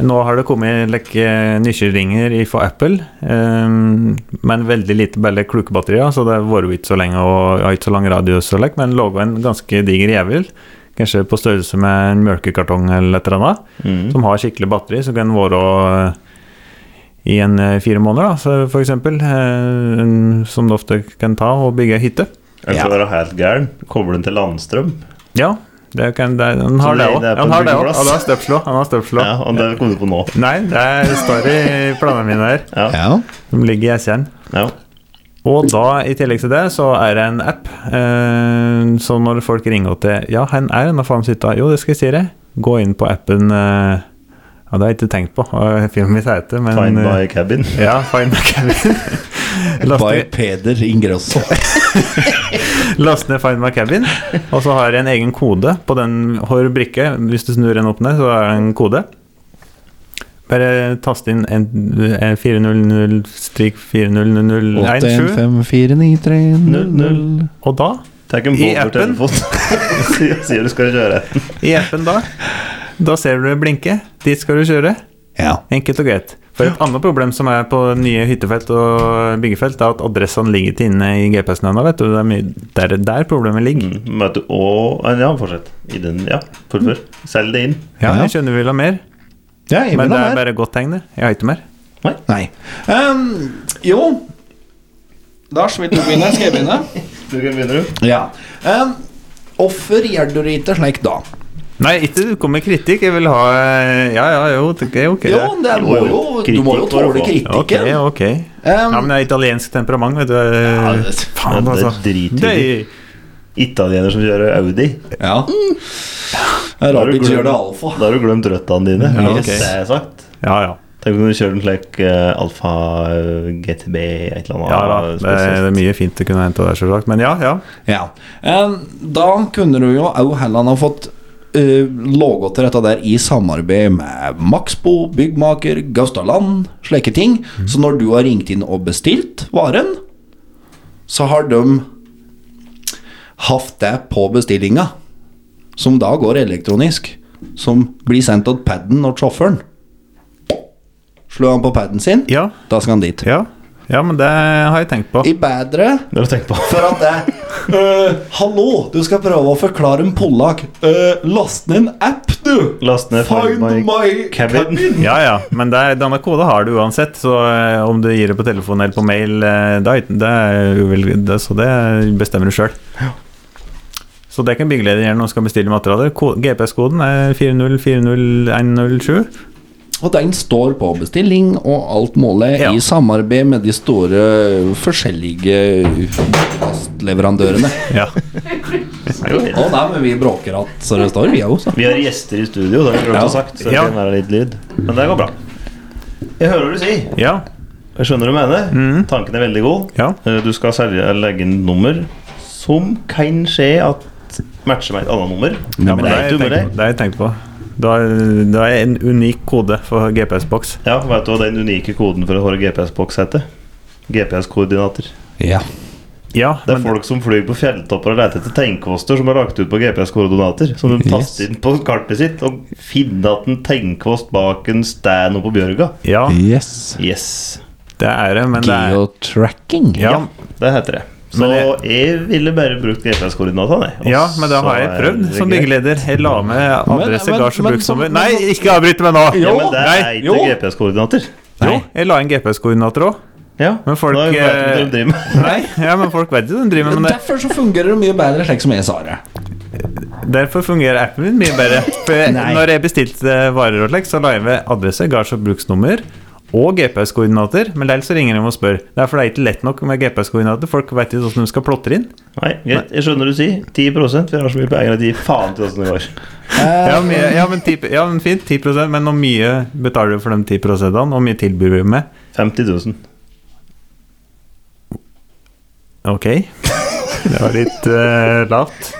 Speaker 5: Nå har det kommet like, nisjeringer i- for Apple, eh, men veldig lite bare kluke batterier, så det varer jo ikke så lenge og har ikke så lang radius, og like, men laga en ganske diger jævel. Kanskje på størrelse med en melkekartong eller et eller annet.
Speaker 3: Mm.
Speaker 5: Som har skikkelig batteri, som kan vare eh, i en eh, fire måneder, da, så for eksempel. eh, en- Som det ofte kan ta å bygge ei hytte.
Speaker 2: Jeg skal være helt gæren. Koble den til landstrøm.
Speaker 5: Ja, det kan, det, han
Speaker 2: Så
Speaker 5: har det
Speaker 2: det-
Speaker 5: òg.
Speaker 2: det er på
Speaker 5: Han har det også.
Speaker 2: byggeplass.
Speaker 5: Han har støpslå. Han har støpslå.
Speaker 2: Ja, og det kom du på nå.
Speaker 5: Nei, det er- står i planene mine her.
Speaker 3: Ja.
Speaker 5: Som ligger i SN. Og da, i tillegg til det, så er det en app. Eh, så når folk ringer til Ja, hen er en av faen hytta. Jo, det skal jeg si deg. Gå inn på appen eh, Ja, det har jeg ikke tenkt på. og Filmen mitt heter men
Speaker 2: Find
Speaker 5: eh,
Speaker 2: my cabin.
Speaker 5: Ja, Find my cabin. Laste-
Speaker 3: By Peder Ingrosso.
Speaker 5: Last ned Find My Cabin, og så har jeg en egen kode på den hår brikke. Hvis du snur den opp ned, så er det en kode. Bare tast inn en, eh, en 400-400017.
Speaker 3: 81549300.
Speaker 5: Og da,
Speaker 2: Tenk en
Speaker 5: I
Speaker 2: bober
Speaker 5: appen?
Speaker 2: telefon. Sier sier du skal kjøre.
Speaker 5: i appen da, da ser du det blinke. Dit skal du kjøre. Enkelt og greit. For et annet problem som er på nye hyttefelt og byggefelt, er at adressene ligger til inne i GPS-en ennå, vet du. Det er mye der, der problemet
Speaker 3: Mm.
Speaker 5: ligger.
Speaker 2: Møte og Ja, fortsett. I den, ja, fullfør. Selg det inn.
Speaker 5: Ja, jeg skjønner vi vil ha mer.
Speaker 3: Ja, jeg
Speaker 5: Men
Speaker 3: vil
Speaker 5: det
Speaker 3: ha
Speaker 5: er
Speaker 3: mer.
Speaker 5: bare godt tegn, det. Jeg har ikke mer.
Speaker 3: Nei. Ehm, jo Lars, vil du begynne? Skal jeg begynne?
Speaker 2: Du kan begynne, du.
Speaker 3: Ja. Um, offer gjør du ikke slik, da?
Speaker 5: Nei, ikke du kom med kritikk. Jeg vil ha eh, Ja, ja, jo, det er ok.
Speaker 3: Jo, det er- må jo- du må jo tåle kritikken.
Speaker 5: Ok, ok. ja, men det er italiensk temperament, vet du. Faen,
Speaker 2: det
Speaker 5: altså. Det
Speaker 2: driter vi i. Italiener som kjører Audi.
Speaker 3: Ja.
Speaker 5: Mm.
Speaker 2: Da har du
Speaker 3: Rabic gjør det
Speaker 2: glemt,
Speaker 3: alfa.
Speaker 2: da har du glemt røttene dine.
Speaker 5: Ja,
Speaker 2: Yes,
Speaker 5: ok.
Speaker 2: det har jeg sagt.
Speaker 5: Ja, ja.
Speaker 2: Tenk om du kjører en slik eh, Alfa eh, GTB et eller annet.
Speaker 5: Ja da, det er, det er mye fint du kunne hente der, selvsagt. Men ja, ja.
Speaker 3: Ja. Ehm, da kunne du jo òg heller ha fått uh, laga til dette der i samarbeid med Maxbo, byggmaker, Gaustaland, slike ting. Så når du har ringt inn og bestilt varen, så har de hatt det på bestillinga, som da går elektronisk. Som blir sendt til paden og sjåføren. Slår han på paden sin, da skal han dit.
Speaker 5: Ja. men det har jeg tenkt på.
Speaker 3: I bedre
Speaker 2: Det har du tenkt på.
Speaker 3: for at det øh, Hallo, du skal prøve å forklare en polakk. Øh, last ned en app, du!
Speaker 2: Last ned
Speaker 3: Find my, cabin.
Speaker 5: Ja, ja, men det er, denne koden har du uansett, så eh, om du gir det på telefon eller på mail, eh, det er, ikke- det er, uvel- det, så det bestemmer du sjøl. Så det kan byggeleder gjøre når man skal bestille materialer. Ko- GPS-koden er 4040107.
Speaker 3: Og den står på bestilling og alt mulig, i samarbeid med de store forskjellige plastleverandørene.
Speaker 2: Ja.
Speaker 3: Og da, men vi bråker at så det står, vi også.
Speaker 2: Vi har gjester i studio, det har vi glemt
Speaker 3: Ja.
Speaker 2: å sagt. Så det
Speaker 3: Ja.
Speaker 2: kan være litt lyd. Men det går bra. Jeg hører hva du sier. Jeg skjønner hva du mener.
Speaker 5: Mm.
Speaker 2: Tanken er veldig god. Eh, Du skal selge eller legge inn nummer som kan skje at matcher med et annet nummer.
Speaker 5: Ja, men det har jeg
Speaker 2: dummere.
Speaker 5: tenkt på. Det har jeg tenkt på. Du har, du har en unik kode for GPS-boks.
Speaker 2: Ja, vet du hva den unike koden for å høre GPS-boks heter? GPS-koordinater.
Speaker 3: Ja.
Speaker 2: det er folk som flyr på fjelltopper og leter etter tegnkoster som er lagt ut på GPS-koordinater. Som de
Speaker 5: Yes.
Speaker 2: taster inn på kartet sitt og finner at en tegnkost bak en stand oppe på Bjørga.
Speaker 5: Ja.
Speaker 3: Yes.
Speaker 5: Det er det, men det er
Speaker 3: Geotracking.
Speaker 5: Ja.
Speaker 2: det heter det. Så jeg ville bare brukt GPS-koordinatene. jeg. Og
Speaker 5: Ja, men det har
Speaker 2: så
Speaker 5: jeg
Speaker 2: er
Speaker 5: prøvd
Speaker 2: det
Speaker 5: som
Speaker 2: greit.
Speaker 5: byggeleder. Jeg la med
Speaker 2: Men-
Speaker 5: adresse,
Speaker 2: men-
Speaker 5: gards og
Speaker 2: men-
Speaker 5: bruksnummer.
Speaker 2: men-
Speaker 5: Nei, ikke avbryt meg nå!
Speaker 2: Ja, men det er
Speaker 5: Nei.
Speaker 2: ikke GPS-koordinater.
Speaker 5: Jo, jeg la inn GPS-koordinater òg.
Speaker 2: Ja,
Speaker 5: men folk
Speaker 2: da vet de hva de driver
Speaker 5: eh, Nei, ja, men folk vet jo hva de driver med, men det,
Speaker 3: Derfor så fungerer det mye bedre slik som jeg sa det.
Speaker 5: derfor fungerer appen min mye bedre. For jeg-
Speaker 3: Nei.
Speaker 5: når jeg bestilte varer og slik, så la jeg ved adresse, gards og bruksnummer og GPS-koordinater, men likevel så ringer de og spør. Det er fordi det er ikke lett nok med GPS-koordinater. Folk vet ikke hvordan de skal plotre inn.
Speaker 2: Nei, greit. Jeg skjønner du sier 10 Vi har så mye penger at de gir faen til åssen det går.
Speaker 5: Ja, men, ja, men, 10, ja, men fint, 10 men hvor mye betaler du for de 10 -ene? Hvor mye tilbyr vi med?
Speaker 2: 50 000.
Speaker 5: Ok. Det var litt eh, lavt.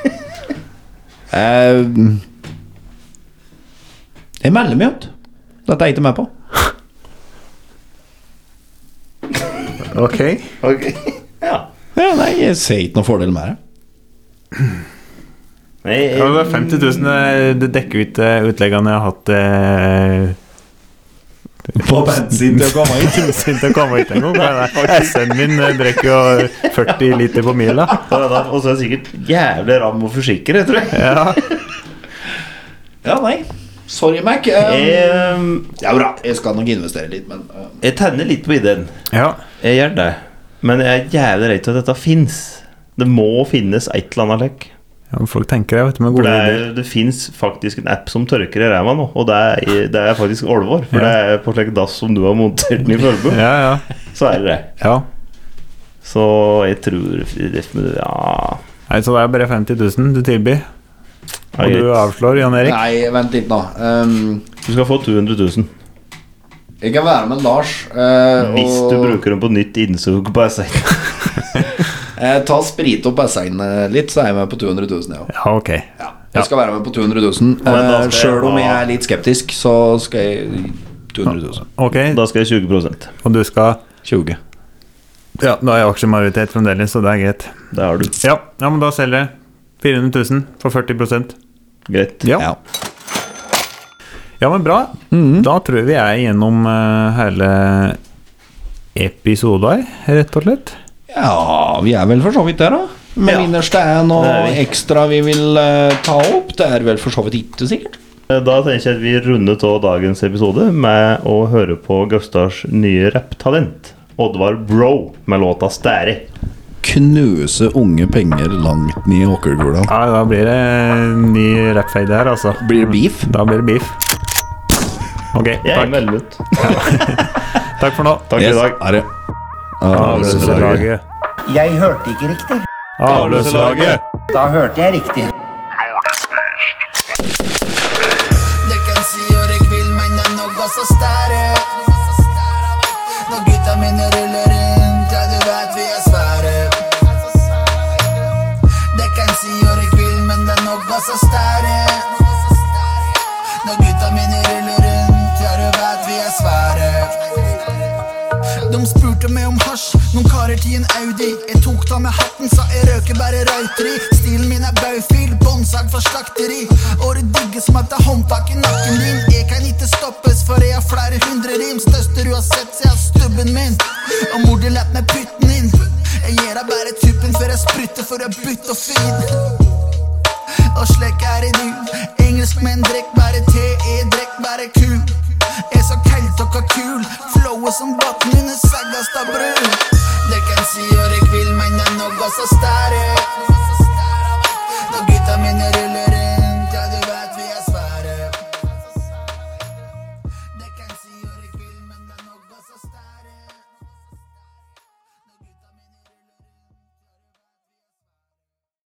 Speaker 3: Eh, jeg melder meg ut. Dette er jeg ikke med på.
Speaker 5: Ok.
Speaker 3: Ja, nei, jeg ser ikke noen fordel med det.
Speaker 5: Ja, det var 50 000 eh, Det dekker ut eh, utleggene jeg har hatt eh,
Speaker 3: På bensin til å komme hit.
Speaker 5: Bensin til å komme hit en gang. men, eh, SN-en min eh, drikker jo 40 liter på mila.
Speaker 2: Og da- og så er det sikkert jævlig ram og forsikker, jeg tror jeg.
Speaker 3: Ja, nei. Sorry, Mac. Um,
Speaker 2: Em,
Speaker 3: ja, bra. Jeg skal nok investere litt, men eh,
Speaker 2: Jeg tenner litt på ideen. Jeg gjør det. Men jeg er jævlig redd for at dette fins. Det må finnes et eller annet lek.
Speaker 5: Ja, men folk tenker det, vet du, med
Speaker 2: For
Speaker 5: gode
Speaker 2: det,
Speaker 5: ideer.
Speaker 2: er- det fins faktisk en app som tørker i ræva nå, og det er, det er faktisk alvor. For
Speaker 5: Ja.
Speaker 2: det er på slik dass som du har montert den i Følbu, så er det det. Så jeg tror det, Ja.
Speaker 5: Nei, så det er bare 50 000 du tilbyr.
Speaker 2: Ja,
Speaker 5: Og du
Speaker 2: greit.
Speaker 5: avslår, Jan Erik.
Speaker 3: Nei, vent litt nå. Ehm,
Speaker 2: Du skal få 200 000
Speaker 3: jeg kan være med Lars. eh,
Speaker 2: hvis
Speaker 3: og
Speaker 2: du bruker den på nytt innsug på SN.
Speaker 3: eh, ta sprit opp bassengene litt, så er jeg med på 200 000, jeg òg.
Speaker 5: Ja, ok.
Speaker 3: Jeg skal være med på 200 000.
Speaker 2: Men da skal
Speaker 3: Uh,
Speaker 2: jeg
Speaker 3: Sjøl om jeg
Speaker 2: ha-
Speaker 3: er litt skeptisk, så skal jeg 200 000.
Speaker 2: Da skal jeg 20
Speaker 5: Og du skal
Speaker 3: 20
Speaker 5: Ja, da har jeg aksjemajoritet fremdeles, så det er greit.
Speaker 2: Det har du.
Speaker 5: Ja, ja men da selger jeg 400 000 for 40
Speaker 2: Greit.
Speaker 5: Ja, ja men bra.
Speaker 2: Mhm.
Speaker 5: Da tror jeg vi er gjennom eh, hele episoder, rett og slett.
Speaker 3: Ja, vi er vel for så vidt der, da. Med innerste er noe
Speaker 2: Det er vi.
Speaker 3: ekstra vi vil eh, ta opp. Det er vel for så vidt ikke sikkert.
Speaker 2: Da tenker jeg at vi runder av dagens episode med å høre på Gustavs nye rapptalent, Oddvar Bro, med låta 'Stæri'.
Speaker 3: Knuse unge penger langt ned i åkergula.
Speaker 5: Ja, da blir det en ny rappfade her, altså.
Speaker 3: Blir det beef?
Speaker 5: Da blir det beef. Ok,
Speaker 2: Jeg er
Speaker 5: takk.
Speaker 2: meldt ut.
Speaker 5: Takk for nå.
Speaker 2: Takk for i dag.
Speaker 3: Er det Ah,
Speaker 5: Avløserlaget.
Speaker 11: Jeg hørte ikke riktig.
Speaker 5: Avløserlaget.
Speaker 11: Da hørte jeg riktig.
Speaker 8: Det kan si gjør jeg vil, men jeg nok også stære Når gutta mine ruller inn, ja du vet vi er svære Det kan si gjør jeg vil, men det er nok også stære Når gutta mine ruller inn, ja du vet vi er svære de spurte meg om hasj, noen karer til en Audi. Jeg tok da med hatten, sa jeg røker bare røyteri. Stilen min er baufil, båndsag fra slakteri. Og det digger som at det er håndtak i nakken din. Jeg kan ikke stoppes, for jeg har flere hundre rim. Største du har sett, så jeg har stubben min. Og mor di lett med putten inn. Jeg gir deg bare tuppen før jeg sprutter for å bytte og feed. Og slik er det nu. Engelskmenn drikk bare te, jeg drikk bare ku. Er så kaldt og kul, flowet som vatn under saggasta bru. Det kan si gjør jeg vil, men det er noe så stærre.